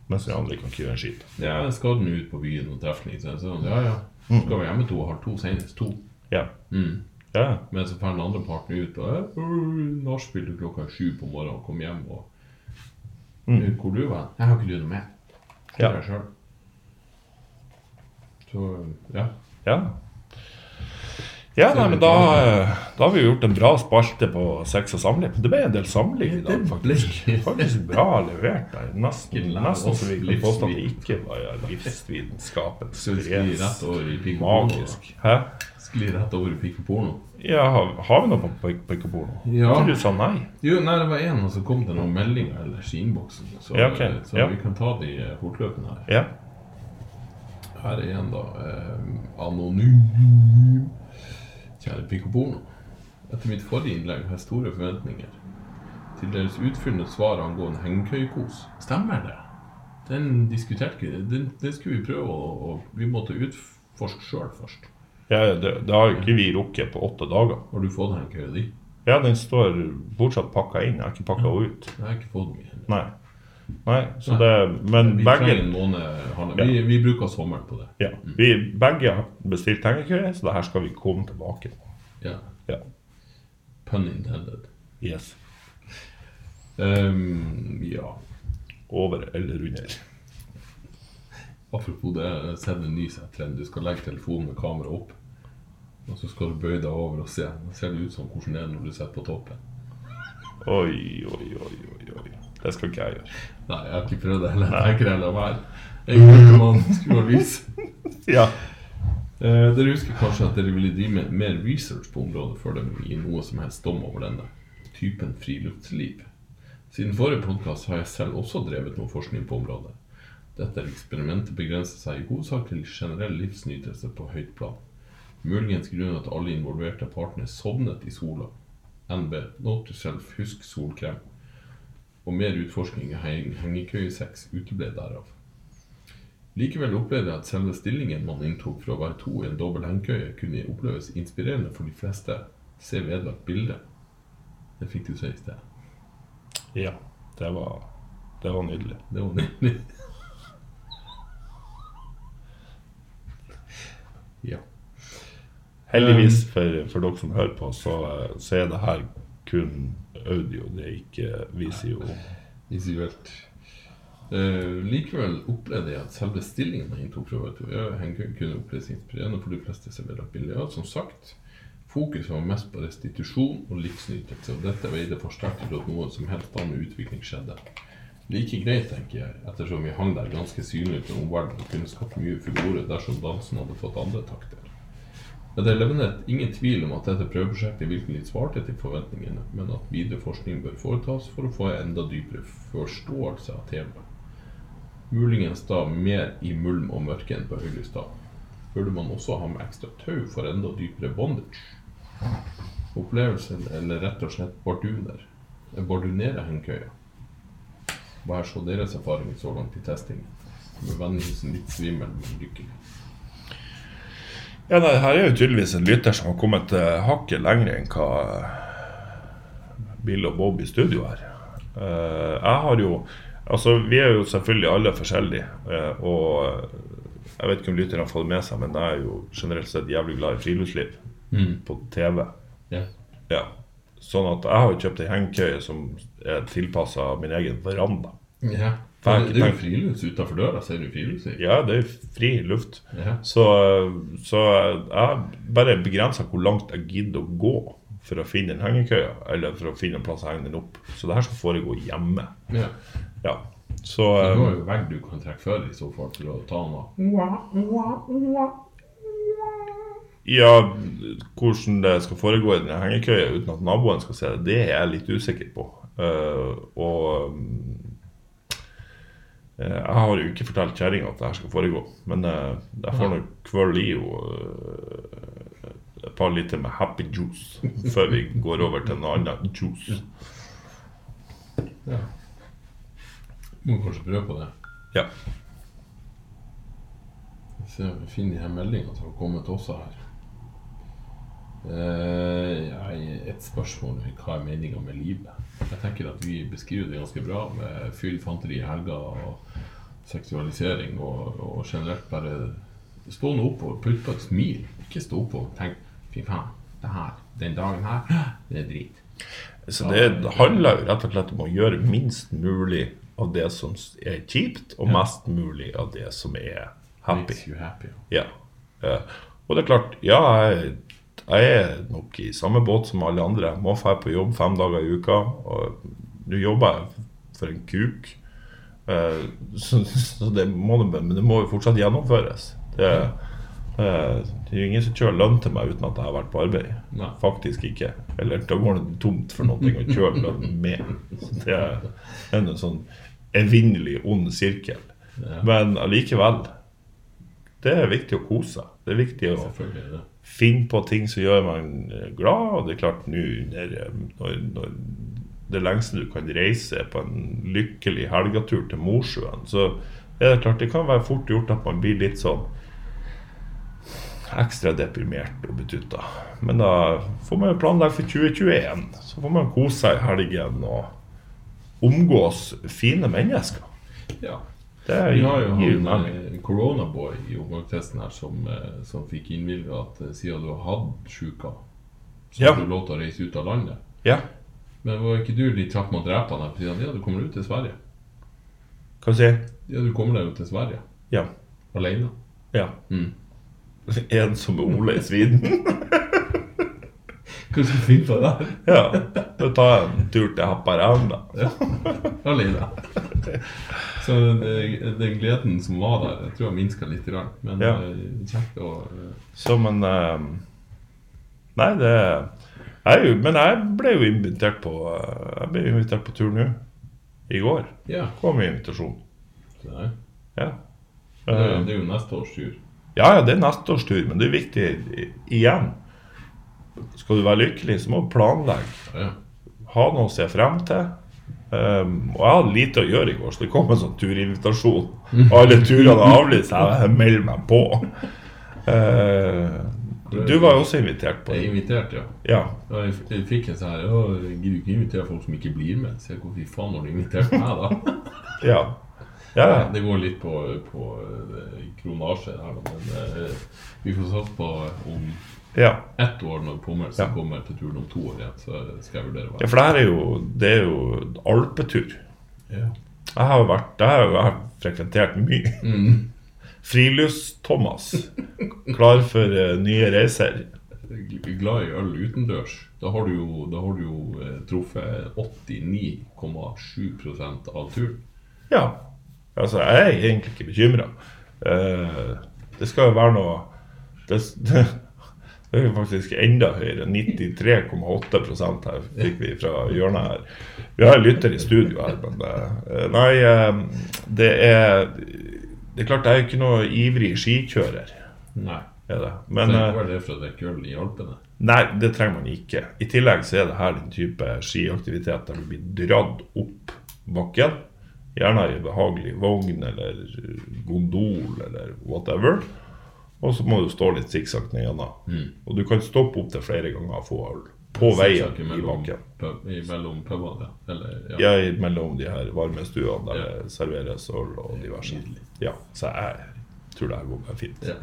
Speaker 2: Mens de andre kan ikke gjøre en skit.
Speaker 1: Ja, jeg skal den ut på byen og treffe den, ikke sant? Så sånn, ja, ja. Så
Speaker 2: Mm.
Speaker 1: skal vi hjemme to og halv to senest to.
Speaker 2: Ja.
Speaker 1: Mm.
Speaker 2: ja.
Speaker 1: Men så drar den andre parten ut og eh, øh, nachspiel til klokka sju på morgenen og kommer hjem og
Speaker 2: Mm.
Speaker 1: Hvor du var? Jeg har ikke du noe med. Det
Speaker 2: Ja.
Speaker 1: er jeg selv. Så ja.
Speaker 2: Ja, ja nei, men da, eh, da har vi jo gjort en bra spalte på sex og samliv. Det ble en del samliv i dag,
Speaker 1: Det ble-
Speaker 2: faktisk. Faktisk bra levert. Der. Nesten, nesten så vi kan påstå at det ikke var livsvitenskapens
Speaker 1: Skal vi skli rett over i pikk og porno?
Speaker 2: Magisk. Hæ?
Speaker 1: da? Skli rett over i pikk og porno?
Speaker 2: Ja, har, har vi noe på pek- pekkebordet? nå?
Speaker 1: Ja.
Speaker 2: Jeg tror du sa nei.
Speaker 1: Jo, nei, det var en som kom til noen meldinger ellers i innboksen. Så,
Speaker 2: Ja, ok.
Speaker 1: så
Speaker 2: Ja.
Speaker 1: vi kan ta de eh, fortløpende her.
Speaker 2: Ja.
Speaker 1: Her er en, da. Eh, anonym. Kjære pikk og porno. Etter mitt forrige innlegg har jeg store forventninger til deres utfyllende svar angående hengekøyekos. Stemmer det? Den diskuterte ikke vi. Den, den skulle vi prøve å å- Vi måtte utforske sjøl først.
Speaker 2: ja ja, det, det har jo ikke vi rukket på åtte dager.
Speaker 1: Har du fått hengekøya di?
Speaker 2: Ja, den står fortsatt pakka inn. Jeg har ikke pakka henne ut.
Speaker 1: Jeg har ikke fått min.
Speaker 2: Nei. Nei, så
Speaker 1: Nei.
Speaker 2: det Men
Speaker 1: Vi
Speaker 2: begge
Speaker 1: trenger en måned. Hanne. Vi, vi bruker sommeren på det.
Speaker 2: ja, vi begge har bestilt hengekøye, så det her skal vi komme tilbake til.
Speaker 1: Ja.
Speaker 2: Ja.
Speaker 1: Pun intended.
Speaker 2: Yes.
Speaker 1: Ehm, ja.
Speaker 2: Over eller under.
Speaker 1: Apropos det, jeg har sett en ny sånn trend. Du skal legge telefonen med kamera opp, og så skal du bøye deg over og se. Da ser det ut som hvordan det er når du sitter på toppen.
Speaker 2: Oi, oi, oi, oi. oi. Det skal ikke jeg gjøre.
Speaker 1: Nei, jeg har ikke prøvd det heller. Jeg kan heller være en guttemann som skrur av lys.
Speaker 2: Ja.
Speaker 1: Eh, dere husker kanskje at dere ville drive med mer research på området før dere ville gi noe som helst dom over denne typen friluftsliv. Siden forrige podkast har jeg selv også drevet noe forskning på området. Dette eksperimentet begrenser seg i hovedsak til generell livsnytelse på høyt plan. Muligens grunnet at alle involverte partene sovnet i sola. NB, note to self, husk solkrem. Og mer utforsking i heng- hengekøyesex uteble derav. Likevel opplevde jeg at selve stillingen man inntok for å være to i en dobbel hengekøye, kunne oppleves inspirerende for de fleste. Se vedlagt bilde. Det fikk du se i sted.
Speaker 2: ja. Det var, det var nydelig.
Speaker 1: Det var nydelig. ja.
Speaker 2: Heldigvis Um, for, for dere som hører på, så, eh, så er det her kun audio. Det er ikke visio.
Speaker 1: Visuelt. Eh, likevel opplevde jeg at selve stillingen jeg inntok fra Vautu kunne oppleves inspirerende for de fleste som vil ha billig mat. Som sagt, fokuset var mest på restitusjon og livsnytelse, og dette veide for sterkt til at noe som helst annen utvikling skjedde. Like greit, tenker jeg, ettersom vi hang der ganske synlig til omverdenen og kunne skapt mye furore dersom dansen hadde fått andre takter. Men det er levnet ingen tvil om at dette prøveprosjektet virkelig svarte til forventningene, men at videre forskning bør foretas for å få en enda dypere forståelse av temaet. Muligens da mer i mulm og mørke enn på Høglestad. Burde man også ha med ekstra tau for enda dypere bondage? Opplevelsen, eller rett og slett barduner, bardunere hengekøya. Hva er så deres erfaringer så langt i testingen? Med vennligsen litt svimmel, men lykkelig.
Speaker 2: Ja, nei, her er jo tydeligvis en lytter som har kommet eh, hakket lenger enn hva eh, Bill og Bob i studio er. Eh, jeg har jo Altså, vi er jo selvfølgelig alle forskjellige, eh, og eh, jeg vet ikke om lytterne har fått det med seg, men jeg er jo generelt sett jævlig glad i friluftsliv på TV.
Speaker 1: Ja.
Speaker 2: Ja. Sånn at jeg har jo kjøpt ei hengekøye som er tilpassa min egen veranda.
Speaker 1: Ja.
Speaker 2: For jeg har ikke
Speaker 1: det er jo
Speaker 2: tenkt-
Speaker 1: frilufts utenfor døra, ser du friluftsliv?
Speaker 2: Ja, det er jo fri luft.
Speaker 1: Ja.
Speaker 2: Så, så jeg bare begrensa hvor langt jeg gidder å gå for å finne en hengekøye, eller for å finne en plass å henge den opp. Så det her skal foregå hjemme.
Speaker 1: ja. Um,
Speaker 2: Ja. Så
Speaker 1: Du
Speaker 2: eh,
Speaker 1: har jo vegg du kan trekke før i så fall til å ta den av.
Speaker 2: ja, hvordan det skal foregå i den hengekøya uten at naboen skal se det, det er jeg litt usikker på. Eh, og mm, eh, jeg har jo ikke fortalt kjerringa at det her skal foregå, men eh, jeg får nok kvøl i henne eh, et par liter med happy juice før vi går over til noe annet juice.
Speaker 1: Ja. Må kanskje prøve på det.
Speaker 2: Ja.
Speaker 1: Vi ser om vi finner de her meldingene som har kommet også her. Eh, jeg, et spørsmål er hva er meninga med livet? Jeg tenker at vi beskriver det ganske bra med fyll, fanteri, helger og seksualisering og, og generelt bare stå nå opp og putt på et smil. Ikke stå opp og tenk fy faen, det her, den dagen her, det er drit.
Speaker 2: Så det handler jo rett og slett om å gjøre minst mulig av det som er kjipt, og mest mulig av det som er happy.
Speaker 1: Makes you happy.
Speaker 2: Ja. Eh, Og det er klart, ja, jeg, jeg er nok i samme båt som alle andre. Jeg må dra på jobb fem dager i uka. Og nå jobber jeg for en kuk. Eh, Så, så det må, det- men det må jo fortsatt gjennomføres. Det, eh, det er jo ingen som kjører lønn til meg uten at jeg har vært på arbeid.
Speaker 1: Nei.
Speaker 2: Faktisk ikke. Eller da går det tomt for noe å kjøre lønn med. Så det er en sånn evinnelig ond sirkel.
Speaker 1: Ja.
Speaker 2: Men allikevel. Det er viktig å kose seg. Det er viktig å
Speaker 1: Selvfølgelig er det det.
Speaker 2: finne på ting som gjør man eh, glad. Og det er klart, nå når, når, når det lengste du kan reise er på en lykkelig helgetur til Mosjøen, så er det klart det kan være fort gjort at man blir litt sånn ekstra deprimert og betutta. Men da får man jo planlegge for 2021. Så får man kose seg i helgen og omgås fine mennesker.
Speaker 1: Ja.
Speaker 2: Det
Speaker 1: Vi har jo
Speaker 2: gir jo
Speaker 1: han
Speaker 2: mening.
Speaker 1: eh, en koronaboy i omgangstesten her som, eh, som fikk innvilga at eh, siden du har hatt sjuka, så
Speaker 2: Ja.
Speaker 1: har du lov til å reise ut av landet.
Speaker 2: Ja.
Speaker 1: Men var ikke du litt kjapp med å drepe han her? fordi han, Ja, du kommer ut til Sverige.
Speaker 2: Hva sier jeg?
Speaker 1: Ja, du kommer deg jo til Sverige.
Speaker 2: Ja.
Speaker 1: Alene.
Speaker 2: ja.
Speaker 1: Mm.
Speaker 2: En som er Ole i Sviden.
Speaker 1: Hva skal du finne på der?
Speaker 2: ja. Da tar jeg en tur til Haparand, da.
Speaker 1: Alene. Så den, den gleden som var der, jeg tror jeg minska litt. Grann. Men
Speaker 2: Ja.
Speaker 1: eh, kjekt å eh,
Speaker 2: Så, men eh, Nei, det jeg, er jo- Men jeg ble jo invitert på eh, Jeg ble invitert på tur nå. I går
Speaker 1: Ja.
Speaker 2: kom invitasjon.
Speaker 1: Det er,
Speaker 2: Ja.
Speaker 1: det er,
Speaker 2: Eh,
Speaker 1: det er jo neste års tur.
Speaker 2: Ja, ja, det er neste års tur, men det er viktig i- igjen. Skal du være lykkelig, så må du planlegge.
Speaker 1: Ja.
Speaker 2: ha noe å se frem til. Um, og jeg hadde lite å gjøre i går, så det kom en sånn turinvitasjon. Og alle turene er avlyst. Jeg melder meg på. Eh, du var jo også invitert på.
Speaker 1: Jeg er invitert, ja.
Speaker 2: Ja.
Speaker 1: Ja, jeg f- jeg fikk en sånn her «Å, Jeg gidder ikke invitere folk som ikke blir med. Så jeg hvorfor i faen har du invitert meg, da?
Speaker 2: Ja. ja. ja.
Speaker 1: Det går litt på, på eh, kronasje her, da. Men eh, vi får satse på eh, om
Speaker 2: ja.
Speaker 1: ett år, når Pommelsen
Speaker 2: Ja.
Speaker 1: kommer til turen om to år igjen, så skal jeg vurdere å
Speaker 2: ja
Speaker 1: være
Speaker 2: for det her er jo, det er jo en alpetur.
Speaker 1: ja.
Speaker 2: Jeg har jo vært det har jo jeg har frekventert mye.
Speaker 1: mm.
Speaker 2: Frilufts-Thomas. Klar for eh, nye reiser.
Speaker 1: Gl- Glad i øl utendørs. Da har du jo, da har du jo eh, truffet 89,7 av turen.
Speaker 2: Ja. Altså, jeg er egentlig ikke bekymra. det skal jo være noe Det, det, det er jo faktisk enda høyere. 93,8 her fikk vi fra hjørnet her. Vi har en lytter i studio her, men det, eh, Nei, eh, det er Det er klart jeg er jo ikke noe ivrig skikjører.
Speaker 1: Nei.
Speaker 2: Er det.
Speaker 1: Men,
Speaker 2: Men
Speaker 1: så
Speaker 2: eh,
Speaker 1: hva er det for å drikke øl i Alpene?
Speaker 2: Nei, det trenger man ikke. I tillegg så er det her den type skiaktivitet der du blir dratt opp bakken. Gjerne i behagelig vogn eller gondol eller whatever. Og så må du stå litt sikksakk ned gjennom.
Speaker 1: Mm.
Speaker 2: Og du kan stoppe opp til flere ganger og få øl på veien i bakken.
Speaker 1: pub- i- mellom pubene, ja. Eller, ja.
Speaker 2: Ja, i- mellom de her varme stuene der det serveres øl og diverse.
Speaker 1: Nydelig.
Speaker 2: Ja, så jeg tror det her går bare fint.
Speaker 1: Ja.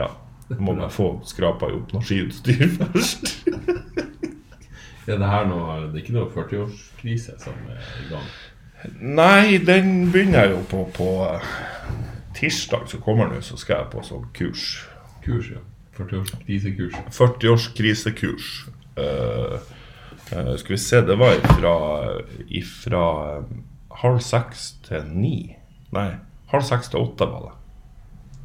Speaker 2: Ja. Jeg må bare få skrapa opp noe skiutstyr først.
Speaker 1: Er det her noe, det er ikke noe 40-årskrise som er i gang?
Speaker 2: Nei, den begynner jeg jo på på eh, tirsdag som kommer nå, så skal jeg på sånn kurs.
Speaker 1: Kurs, ja. 40-årskrisekurs.
Speaker 2: 40-årskrisekurs. Eh, eh, skal vi se, det var ifra, ifra eh, halv seks til ni. Nei, halv seks til åtte var det.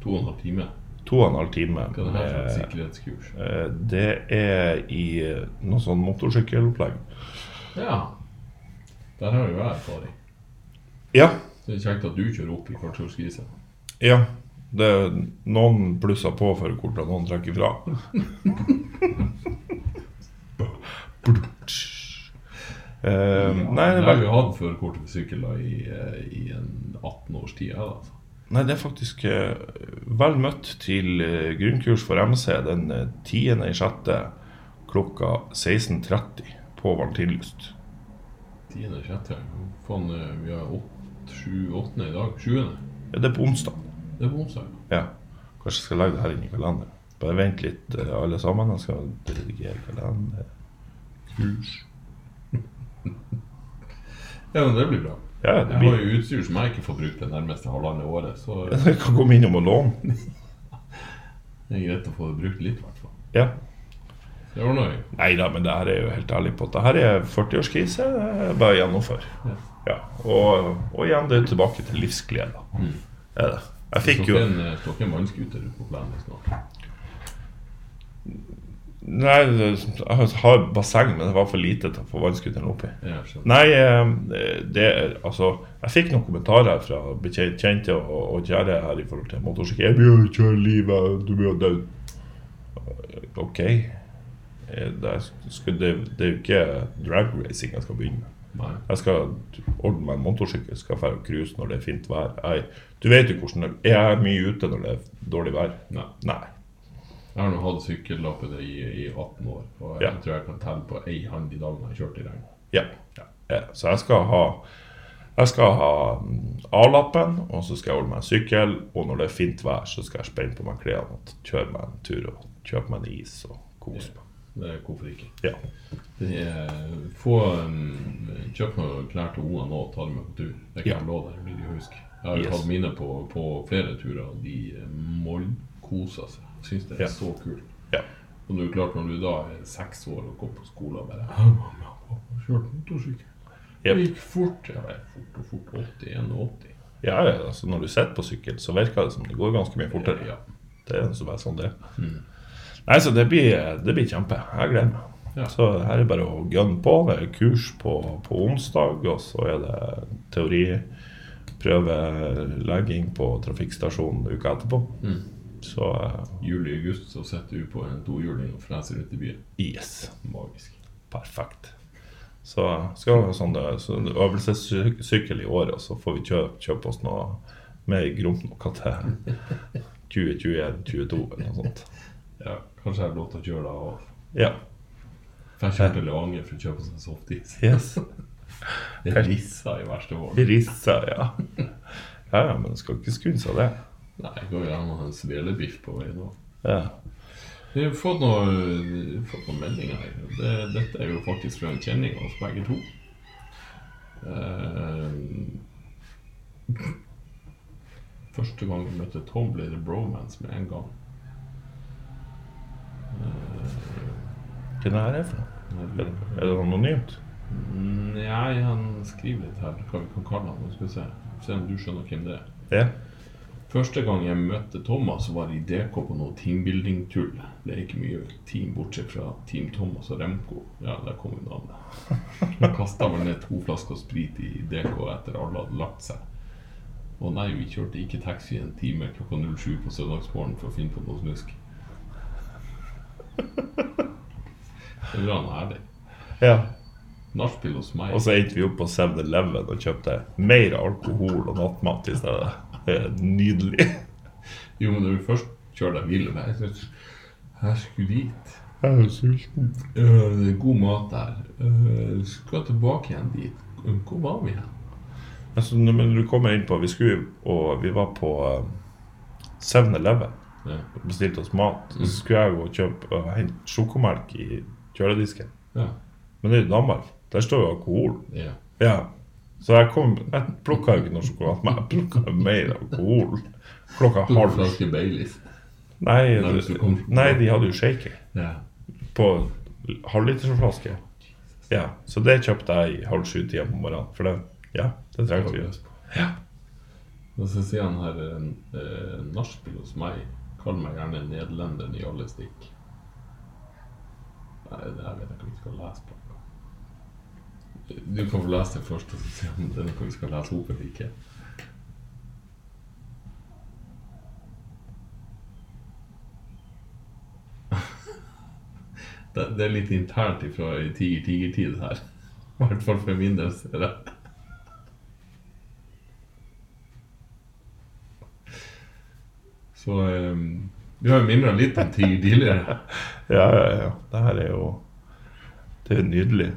Speaker 1: To og en halv time.
Speaker 2: To og en halv time.
Speaker 1: Hva er det her for et
Speaker 2: med-
Speaker 1: sikkerhetskurs?
Speaker 2: eh, det er i eh, noe sånn motorsykkelopplegg.
Speaker 1: Ja. Der har jo jeg erfaring.
Speaker 2: Ja.
Speaker 1: Så det er kjekt at du kjører opp i 40-årskrisen.
Speaker 2: ja. Det er noen plusser på for hvordan noen trekker fra. Eh, nei, det
Speaker 1: Det
Speaker 2: er
Speaker 1: har
Speaker 2: bare,
Speaker 1: vi hatt førerkort for sykkel da, i, eh, i en 18 års tid. ja, Altså.
Speaker 2: nei, det er faktisk eh, vel møtt til eh, grunnkurs for MC den eh, 10. i sjette klokka 16.30 på Vantillyst.
Speaker 1: Tiende, sjette Faen, eh, vi har åtte, sju, åttende i dag. Sjuende.
Speaker 2: Ja, det er på onsdag.
Speaker 1: Det er på onsdag. ja.
Speaker 2: Ja. Kanskje jeg skal legge det her inn i kalenderen. Bare vent litt, eh, alle sammen. Jeg skal dirigere kalender. Kurs.
Speaker 1: Ja, men det blir bra.
Speaker 2: Ja,
Speaker 1: Jeg
Speaker 2: det
Speaker 1: har
Speaker 2: blir
Speaker 1: jo utstyr som jeg ikke får brukt det nærmeste halvannet året, så eh,
Speaker 2: Jeg kan komme innom og låne.
Speaker 1: det er greit å få brukt litt, i hvert fall.
Speaker 2: Ja.
Speaker 1: Det ordner vi.
Speaker 2: Nei da, men det her er jo helt ærlig på at det her er 40-årskrise. det er Bare gjennomfør.
Speaker 1: Ja.
Speaker 2: Ja. Og, og igjen, det er tilbake til livsglede. Det er Mm. sånn- det. Jeg fikk jo
Speaker 1: Står ikke en, eh, står ikke en vannskuter ute på plenen snart.
Speaker 2: Nei, det- sånn- jeg har basseng, men det var for lite til å få vannskuteren oppi.
Speaker 1: Ja, Jeg skjønner.
Speaker 2: Nei, eh, det Altså, jeg fikk noen kommentarer fra bekjente og, og kjære her i forhold til motorsykkel. 'Jeg blir jo ikke i livet, du blir jo død'. OK. Eh, Det er, skulle- det, det er jo ikke drag racing jeg skal begynne med.
Speaker 1: Nei.
Speaker 2: Jeg skal ordne meg en motorsykkel, skal dra og cruise når det er fint vær. Jeg, du vet jo hvordan det Jeg er mye ute når det er dårlig vær.
Speaker 1: Nei.
Speaker 2: Nei.
Speaker 1: Jeg har nå hatt sykkellappen i, i 18 år, og jeg
Speaker 2: Ja.
Speaker 1: tror jeg kan telle på ei hand de dagene jeg har kjørt i regn.
Speaker 2: Ja. ja. Så jeg skal ha jeg skal ha mm, A-lappen, og så skal jeg ordne meg en sykkel. Og når det er fint vær, så skal jeg spenne på meg klærne og kjøre meg en tur og kjøpe meg en is og kose meg.
Speaker 1: Det er hvorfor ikke.
Speaker 2: Ja.
Speaker 1: Det er, få um, Kjøp noen klær til ungene nå og ta dem med på tur. Det kan
Speaker 2: Ja.
Speaker 1: jeg love deg, blir de å huske. Jeg har jo
Speaker 2: Yes.
Speaker 1: tatt mine på, på flere turer, og de eh, mollkoser seg. Jeg Syns det er
Speaker 2: Ja.
Speaker 1: så kult.
Speaker 2: Ja.
Speaker 1: Og det er jo klart, når du da er seks år og går på skolen og bare «Hæ, mamma, pappa, Kjørte motorsykkel. Det
Speaker 2: Jep.
Speaker 1: gikk fort. Ja, det er fort og fort. 80, 81.
Speaker 2: Ja, ja, altså Når du sitter på sykkel, så virker det som det går ganske mye fortere.
Speaker 1: Ja.
Speaker 2: Det er så bare sånn det er. Nei, så det blir, det blir kjempe. Jeg gleder meg.
Speaker 1: Ja.
Speaker 2: Så her er bare å gunne på. Det er kurs på, på onsdag, og så er det teoriprøvelegging på trafikkstasjonen uka etterpå. Så eh,
Speaker 1: juli-august så sitter du på en tohjuling og freser rundt i byen.
Speaker 2: yes,
Speaker 1: Magisk.
Speaker 2: perfekt. Så skal vi ha sånn eh, så øvelsessykkel i år, og så får vi kjøpe, kjøpe oss noe mer gromt noe til 2021-2022 eller noe sånt.
Speaker 1: Ja, kanskje jeg har lov til å kjøre da òg.
Speaker 2: Ja.
Speaker 1: For jeg kjørte til Levanger for å kjøpe sånn softis.
Speaker 2: Yes.
Speaker 1: Det rissa i verste fall.
Speaker 2: Rissa, ja. Ja, ja, men det skal ikke skynde seg det.
Speaker 1: Nei, det går jo an å ha en svelebiff på vei nå.
Speaker 2: Ja.
Speaker 1: Vi har fått noen, fått noen meldinger her. Det, dette er jo faktisk fra en kjenning av oss begge to. Ehm. Eh, første gang jeg møtte Tom, ble det bromance med en gang.
Speaker 2: Hva er det her er for noe? Er det, er det anonymt?
Speaker 1: Nei, Mm, han skriver litt her hva vi kan kalle han. Nå Skal vi se. se om du skjønner hvem det er.
Speaker 2: Ja.
Speaker 1: Første gang jeg møtte Thomas, var i DK på noe teambuilding-tull. Det er ikke mye team, bortsett fra Team Thomas og Remco. Ja, der kom jo navnet. Han kasta vel ned to flasker sprit i DK etter alle hadde lagt seg. Å nei, vi kjørte ikke taxi en time klokka 07 på søndagsmorgen for å finne på noe snusk. Det er bra han er ærlig.
Speaker 2: ja.
Speaker 1: Nachspiel hos meg
Speaker 2: Og så endte vi opp på 7-Eleven og kjøpte mer alkohol og nattmat i stedet. Det er nydelig.
Speaker 1: Jo, men når du først kjører deg vill med Jeg synes, jeg skulle dit.
Speaker 2: Jeg er sulten.
Speaker 1: Øh, det er god mat der. Øh, skal tilbake igjen dit. Øh, Hvor var vi hen?
Speaker 2: Altså, når- men du kommer inn på Vi skulle jo- og vi var på eh, 7-Eleven
Speaker 1: Ja.
Speaker 2: og bestilte oss mat. Så skulle jeg gå og kjøpe og hente sjokomelk i kjøledisken.
Speaker 1: Ja.
Speaker 2: Men det er jo Danmark. Der står jo alkohol.
Speaker 1: ja.
Speaker 2: Ja. Så jeg kom Jeg plukka ikke noe sjokolade, men jeg plukka mer alkohol. Klokka
Speaker 1: Halv
Speaker 2: halv
Speaker 1: flaske Baileys.
Speaker 2: Nei,
Speaker 1: Nei, hvis du kom-
Speaker 2: nei de hadde jo shaker
Speaker 1: Ja.
Speaker 2: på halvlitersflaske. Ja, så det kjøpte jeg i halv sju-tida på morgenen. For det, ja, det
Speaker 1: det var
Speaker 2: trengte vi.
Speaker 1: løs på. Og så sier han her øh, Nachspiel hos meg. Kall meg gjerne nederlenderen i alle stikk. Nei, det her vet jeg ikke om vi skal lese på. Du kan få lese det først, og så se om det er noe vi skal lese opp eller ikke. Det, det er litt internt fra tiger-tiger-tid her. I hvert fall for min del, ser jeg. Så eh, vi har jo mimra litt om ting tidligere.
Speaker 2: Ja, ja, ja. Det her er jo Det er nydelig.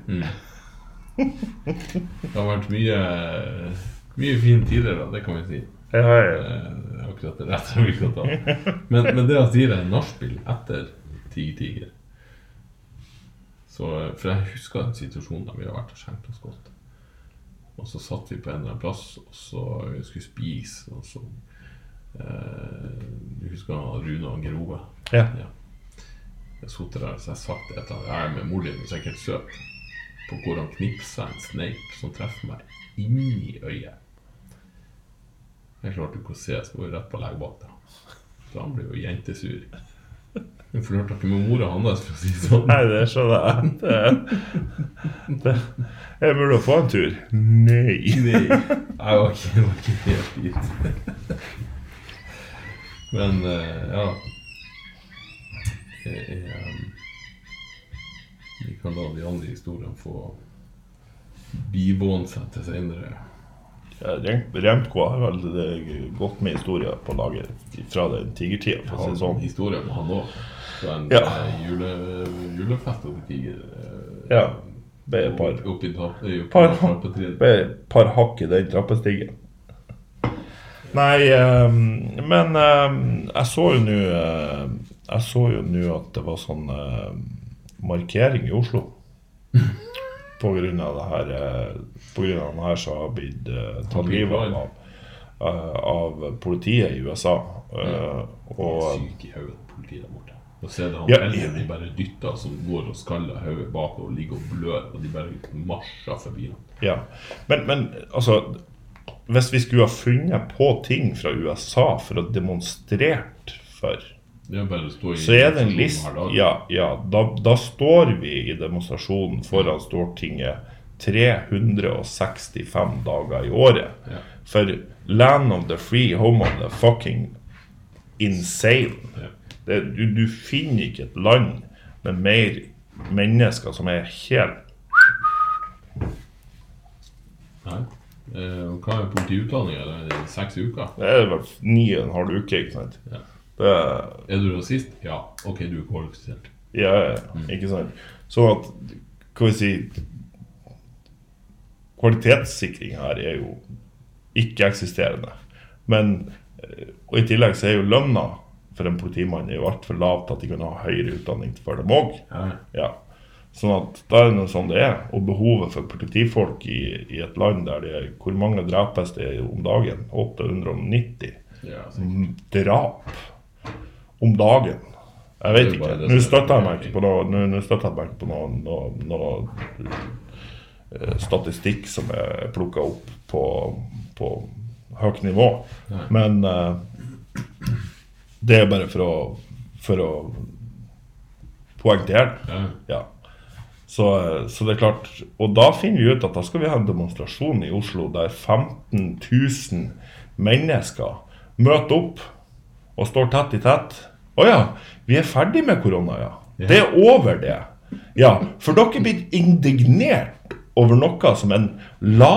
Speaker 1: Det har vært mye, mye fine tider, da. Det kan vi si.
Speaker 2: Ja, ja, ja.
Speaker 1: Eh, akkurat det rette vi kan ta. Men, men det han sier, er nachspiel etter Tiger Tiger. Så, eh, for jeg husker en situasjon da vi har vært og skjenkt oss godt. Og så satt vi på en eller annen plass og så vi skulle spise. Og så eh, Du husker han Rune og Grove?
Speaker 2: ja.
Speaker 1: Jeg satt der så jeg sagt et eller annet Jeg er med mor din, hun er sikkert søt. På hvor han knipsa en sneip som treffer meg inni øyet. Jeg klarte ikke å se, så var jeg rett på leggvakta. Så han ble jo jentesur. Hun flørta ikke med mora hans, for å si det sånn.
Speaker 2: Nei, det skjønner jeg. Det, det. Jeg burde få en tur. Nei.
Speaker 1: Nei, jeg var ikke, jeg var ikke helt dit. Men eh, ja Jeg, eh, Vi kan la de andre historiene få bivåne seg til senere.
Speaker 2: Remco har vel eh, gått med historier på lager fra den tigertida, for å si det sånn.
Speaker 1: historier om han òg. Fra en
Speaker 2: Ja.
Speaker 1: eh, jule, julefest oppe i Tiger. eh,
Speaker 2: Ja. Det er et par,
Speaker 1: Oppe i tapp- eh, oppe i
Speaker 2: Par-
Speaker 1: tappetrinnet.
Speaker 2: det er et par hakk i den trappestigen. Nei, eh, men eh, jeg så jo nå eh, Jeg så jo nå at det var sånn eh, markering i Oslo. På grunn av det her eh, På grunn av den her som har blitt eh, tatt livet av, eh, av politiet i USA. Eh, og
Speaker 1: syk i hodet, politiet der borte. Og ser det han
Speaker 2: Ja.
Speaker 1: eldre blir bare dytta, som går og skaller hodet bakover, ligger og blør, og de bare marsjer forbi ham.
Speaker 2: Ja. Men, men altså Hvis vi skulle ha funnet på ting fra USA for å demonstrert for,
Speaker 1: Det er bare å stå i
Speaker 2: så er det en
Speaker 1: demonstrasjonen
Speaker 2: liste
Speaker 1: hver dag.
Speaker 2: Ja, ja da, da står vi i demonstrasjonen foran Stortinget 365 dager i året.
Speaker 1: Ja.
Speaker 2: For land of the free, home of the fucking insane.
Speaker 1: Ja.
Speaker 2: Det, du, du finner ikke et land med mer mennesker som er helt
Speaker 1: Nei. Eh, og hva er politiutdanninga? Det er seks uker.
Speaker 2: Det er vel ni og en halv uke, ikke sant?
Speaker 1: Ja.
Speaker 2: Det er
Speaker 1: Er du rasist? Ja. Ok, du er kvalifisert.
Speaker 2: Ja, ja, ja, ikke sant. Sånn at Hva skal vi si Kvalitetssikring her er jo ikke-eksisterende. Men eh, og i tillegg så er jo lønna for en politimann er jo altfor lav til at de kan ha høyere utdanning for dem òg.
Speaker 1: Ja.
Speaker 2: Ja. Sånn at da er det noe sånn det er. Og behovet for politifolk i, i et land der det er Hvor mange drepes det om dagen? 890
Speaker 1: Ja, sikkert.
Speaker 2: m- altså. drap om dagen. Jeg vet
Speaker 1: Det er bare
Speaker 2: ikke.
Speaker 1: det
Speaker 2: Nå
Speaker 1: som er-
Speaker 2: støtter jeg meg ikke på noe, nå, nå støtter jeg meg ikke på noe, noe, noe eh, statistikk som er plukka opp på, på høyt nivå.
Speaker 1: Nei.
Speaker 2: Men eh, det er bare for å, for å poengtere.
Speaker 1: ja.
Speaker 2: Ja. Så, så det er klart Og da finner vi ut at da skal vi ha en demonstrasjon i Oslo der 15 000 mennesker møter opp og står tett i tett. Å ja, vi er ferdig med korona, ja. Det er over, det. Ja, for dere blir indignert over noe som en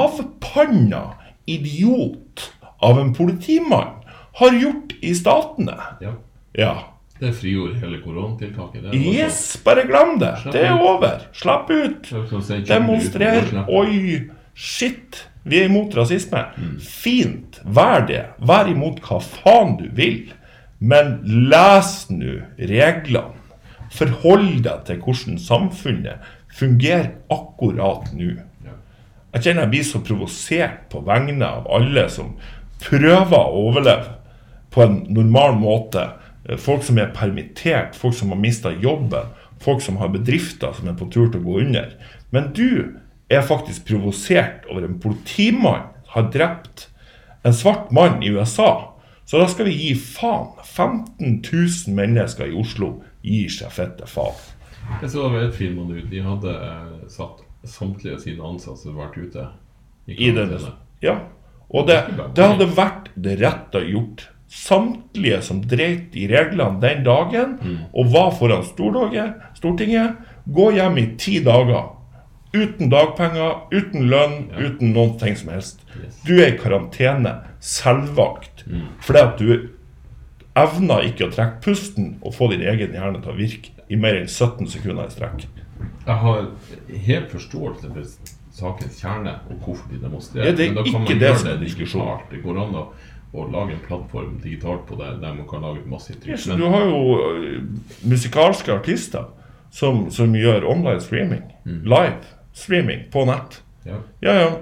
Speaker 2: lavpanna idiot av en politimann har gjort i statene.
Speaker 1: ja.
Speaker 2: Ja.
Speaker 1: Det frigjorde hele koronatiltaket. Det var sånn.
Speaker 2: Yes, bare glem det.
Speaker 1: Slapp
Speaker 2: Det er
Speaker 1: ut.
Speaker 2: over. Slapp ut.
Speaker 1: Det var sånn å si,
Speaker 2: Demonstrer.
Speaker 1: kjøper du ut på
Speaker 2: Oi, shit. Vi er imot rasisme.
Speaker 1: Mm.
Speaker 2: Fint. Vær det. Vær imot hva faen du vil. Men les nå reglene. Forhold deg til hvordan samfunnet fungerer akkurat nå.
Speaker 1: Snapchat? Ja.
Speaker 2: Jeg kjenner jeg blir så provosert på vegne av alle som prøver å overleve på en normal måte. Eh, Folk som er permittert, folk som har mista jobben, folk som har bedrifter som er på tur til å gå under. Men du er faktisk provosert over en politimann har drept en svart mann i USA. Så da skal vi gi faen. 15 000 mennesker i Oslo gir seg fette faen.
Speaker 1: Jeg så det var et firma nå. De hadde eh, satt samtlige sine ansatte som hadde vært ute
Speaker 2: I den,
Speaker 1: karantene.
Speaker 2: ja. Og det, det hadde vært det rette å gjort. Samtlige som dreit i reglene den dagen og var foran Stortorget- Stortinget, gå hjem i ti dager. Uten dagpenger, uten lønn,
Speaker 1: Ja.
Speaker 2: uten noen ting som helst.
Speaker 1: Yes.
Speaker 2: Du er i karantene, selvvakt, fordi at du evner ikke å trekke pusten og få din egen hjerne til å virke i mer enn 17 sekunder i strekk.
Speaker 1: Jeg har helt forståelse for sakens kjerne og hvorfor de demonstrerer.
Speaker 2: Ja, det er
Speaker 1: men da kan
Speaker 2: ikke
Speaker 1: man
Speaker 2: det
Speaker 1: gjøre
Speaker 2: som er diskusjonen.
Speaker 1: digitalt. Det går an å, å lage en plattform digitalt på det der man kan lage et massivt trykk.
Speaker 2: Yes,
Speaker 1: men-
Speaker 2: du har jo ø, musikalske artister som, som gjør online streaming.
Speaker 1: Mm.
Speaker 2: Live streaming på nett.
Speaker 1: ja.
Speaker 2: Ja, ja.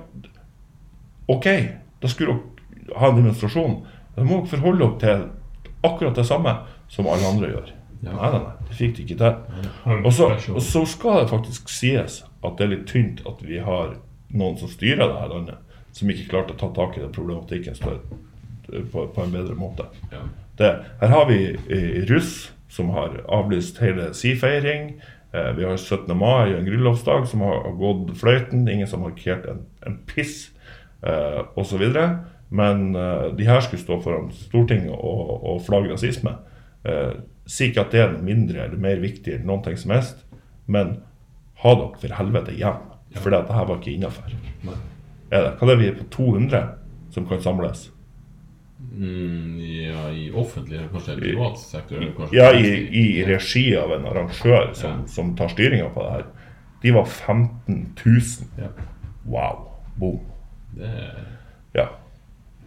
Speaker 2: Ok, da skulle dere ha en demonstrasjon. Da må dere forholde dere til akkurat det samme som alle andre gjør.
Speaker 1: Ja.
Speaker 2: Nei, nei, nei, det fikk de ikke til.
Speaker 1: Har-
Speaker 2: Og så, og så skal det faktisk sies at det er litt tynt at vi har noen som styrer det her landet, som ikke klarte å ta tak i den problematikken større, på, på en bedre måte.
Speaker 1: ja.
Speaker 2: Det, her har vi eh, russ som har avlyst hele si feiring. Eh, vi har 17. mai, en grunnlovsdag, som har, har gått fløyten. Ingen som har markert en, en piss, eh, osv. Men eh, de her skulle stå foran Stortinget og, og flagge rasisme. Eh, si ikke at det er noe mindre eller mer viktig eller noen ting som helst, men ha dere for helvete hjem. For dette her var ikke innafor.
Speaker 1: Nei.
Speaker 2: Er det? Hva er det vi er på 200 som kan samles?
Speaker 1: Mm, ja, i offentlig eller kanskje i privat sektor? eller kanskje-
Speaker 2: Ja, i, i regi av en arrangør som,
Speaker 1: Ja.
Speaker 2: som tar styringa på det her. De var 15 000.
Speaker 1: Ja.
Speaker 2: Wow. Boom.
Speaker 1: Det er
Speaker 2: Ja.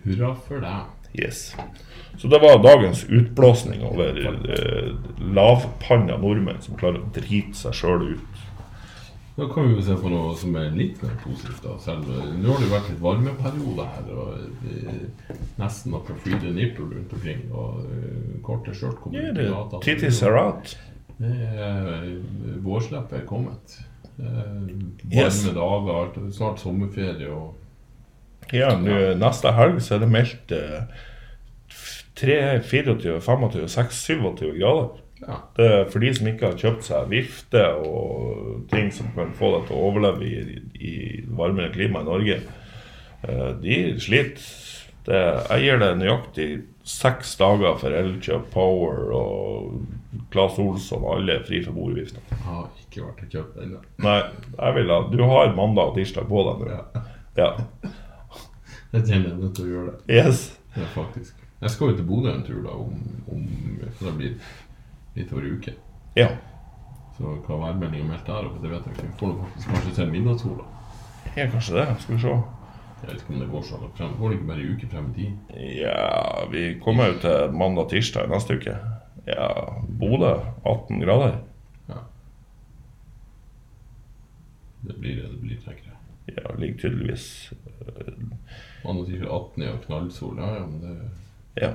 Speaker 1: hurra for deg.
Speaker 2: Yes. Så det var dagens utblåsning over eh, lavpanna nordmenn som klarer å drite seg sjøl ut.
Speaker 1: Da kan vi jo se på noe som er litt mer positivt. da, selv eh, Nå har det jo vært litt varmeperiode her. og eh, Nesten at det flyter nipler rundt omkring. og eh, Korte skjørt kommer ut i gata.
Speaker 2: Tittis are out.
Speaker 1: Det er Vårsleppet er kommet. Eh, Varme
Speaker 2: Yes.
Speaker 1: dager, alt, og snart sommerferie og
Speaker 2: Ja, nå, neste helg så er det meldt eh, 3, 24, 25, 26, 27 grader.
Speaker 1: ja.
Speaker 2: Det er for de som ikke har kjøpt seg vifte og ting som kan få deg til å overleve i, i varmere klima i Norge, eh, de sliter. Det, jeg gir det nøyaktig seks dager for Elkjøp Power og Claes Olsson og alle er fri for bordvifte.
Speaker 1: Jeg har ikke vært og kjøpt ennå.
Speaker 2: Nei, jeg vil ha, du har mandag og tirsdag på deg nå.
Speaker 1: Ja.
Speaker 2: Ja.
Speaker 1: Jeg kjenner jeg er nødt til å gjøre det.
Speaker 2: Yes.
Speaker 1: Ja, faktisk. Jeg skal jo til Bodø en tur da, om, om så det blir litt over en uke.
Speaker 2: Ja.
Speaker 1: Så hva værmeldinga meldt der oppe, det vet jeg ikke. Vi får nå faktisk kanskje se midnattssol, da.
Speaker 2: ja, kanskje det. Skal vi se.
Speaker 1: Jeg vet ikke om det går så langt frem. Går det ikke bare en uke frem i tid?
Speaker 2: Ja, vi kommer jo til mandag-tirsdag neste uke. Ja, Bodø 18 grader.
Speaker 1: Det blir det det blir, tenker jeg.
Speaker 2: Ja, ligger tydeligvis
Speaker 1: Andre sier 18 er jo knallsol. Ja, ja, men det,
Speaker 2: Ja.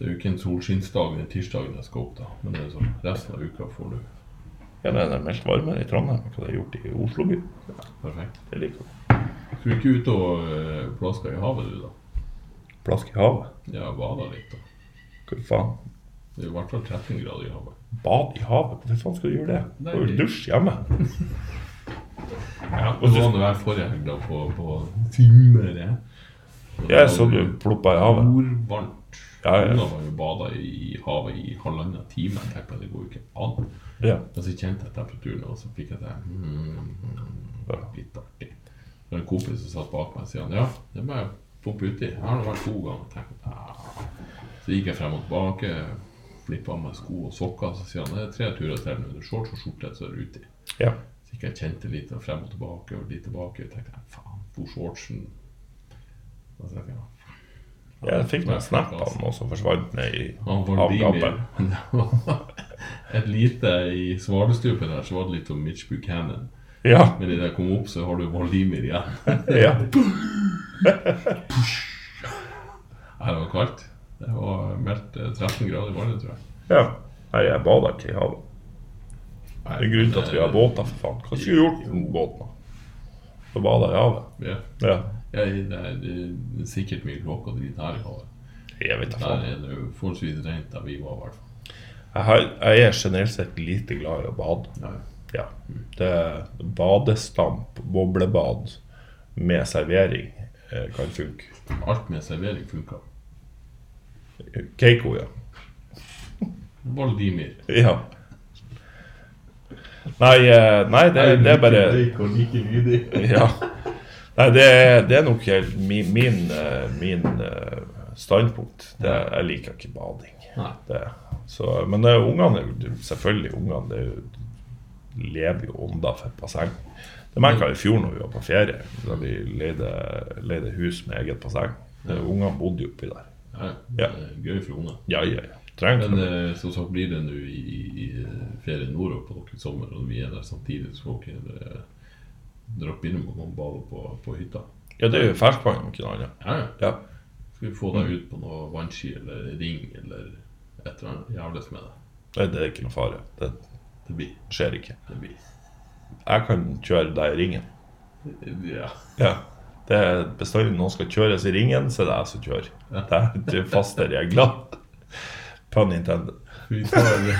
Speaker 1: det er jo ikke en solskinnsdag den tirsdagen jeg skal opp, da. Men det er sånn, resten av uka får du
Speaker 2: Ja, det er meldt varmere i Trondheim enn hva det er gjort i Oslo by.
Speaker 1: perfekt.
Speaker 2: Det liker jeg.
Speaker 1: Skal du ikke ut og eh, plaske i havet, du, da?
Speaker 2: Plask i havet.
Speaker 1: Ja, bade litt, da.
Speaker 2: Hva faen?
Speaker 1: Det er i hvert fall 13 grader i havet.
Speaker 2: Bad i havet? Hvorfor faen skal du gjøre det? Du har jo dusj hjemme.
Speaker 1: Ja, og så var det hver forrige helg da på, på timer. ja. Og da
Speaker 2: Jeg så
Speaker 1: var
Speaker 2: du
Speaker 1: det
Speaker 2: ploppa i havet.
Speaker 1: Jordvarmt.
Speaker 2: Ja, ja.
Speaker 1: Ungene var jo bada i havet i halvannen time. Jeg tenkte at det går jo ikke an.
Speaker 2: Ja.
Speaker 1: Men så kjente jeg temperaturen, og så fikk jeg det mm,
Speaker 2: Ja.
Speaker 1: litt artig. Det var en kompis som satt bak meg og sa ja, det må jeg pumpe uti. Her har det vært to ganger. Jeg tenkte, «Ah». Så gikk jeg frem og tilbake, flippa av meg sko og sokker, så sier han det er tre turer til nå. Det er shorts og skjorte, så er det uti.
Speaker 2: ja.
Speaker 1: Så gikk jeg og kjente litt og frem og tilbake og litt tilbake. Jeg tenkte faen, hvor shortsen Da tenkte jeg, «Ja,
Speaker 2: Jeg fikk meg en snap av han også forsvant ned i
Speaker 1: Han
Speaker 2: havgapet.
Speaker 1: Vladimir men det var Et lite i svalestupen her, så var det litt om Mitch Buchanan.
Speaker 2: Ja.
Speaker 1: Men idet jeg kom opp, så har du Valdimir igjen.
Speaker 2: ja.
Speaker 1: Her var det kaldt. Det var meldt eh, 13 grader i vannet, tror jeg.
Speaker 2: ja. Nei, jeg bada ikke i havet.
Speaker 1: Nei,
Speaker 2: Det er grunnen til at
Speaker 1: Eh,
Speaker 2: vi har båter, for faen. Hva skulle vi gjort uten båten? da? Så bada i havet.
Speaker 1: Ja.
Speaker 2: Ja.
Speaker 1: Ja, det, er, det er sikkert mye klokke og drit her i havet.
Speaker 2: Jeg vet da faen.
Speaker 1: Der er det jo forholdsvis rent der vi var, i hvert fall.
Speaker 2: Jeg, har, jeg er generelt sett lite glad i å bade.
Speaker 1: Ja, ja.
Speaker 2: Ja. Det er badestamp, boblebad med servering eh, kan funke.
Speaker 1: Alt med servering funka.
Speaker 2: Keiko, ja.
Speaker 1: Valdimir.
Speaker 2: ja. Nei, eh, nei det, det er bare
Speaker 1: Like og like lydig.
Speaker 2: Ja. Nei, det, er- det er nok helt min, min, eh, min eh, standpunkt. Det, jeg liker ikke bading.
Speaker 1: Nei.
Speaker 2: Det. Så, men det, er ungene er jo- selvfølgelig ungene det er jo- lever jo ånda for basseng. Det merka jeg i fjor når vi var på ferie, da vi leide, leide hus med eget basseng. Det- Ungene bodde jo oppi der.
Speaker 1: Ja,
Speaker 2: Ja.
Speaker 1: det er Gøy for ungene.
Speaker 2: Ja, ja, ja. Trenger
Speaker 1: Men
Speaker 2: ikke noe.
Speaker 1: eh, som sagt blir det nå i, i eh, ferien nordover på dere i sommer, og vi er der samtidig, så får dere eh, dra opp innom og komme og bade på, på hytta.
Speaker 2: Ja, det er jo ferskvann, om ikke noe annet.
Speaker 1: Ja, ja.
Speaker 2: Ja.
Speaker 1: Skal vi få deg ut på noe vannski eller ring eller et eller annet jævles med deg.
Speaker 2: Nei, Det er ikke noe fare. Det
Speaker 1: Det blir.
Speaker 2: skjer ikke.
Speaker 1: Det blir.
Speaker 2: Jeg kan kjøre deg i ringen.
Speaker 1: Ja.
Speaker 2: Ja. Det er bestandig noen skal kjøres i ringen, så det er jeg som kjører. Det er, det er faste regler. Pun intended.
Speaker 1: Vi tar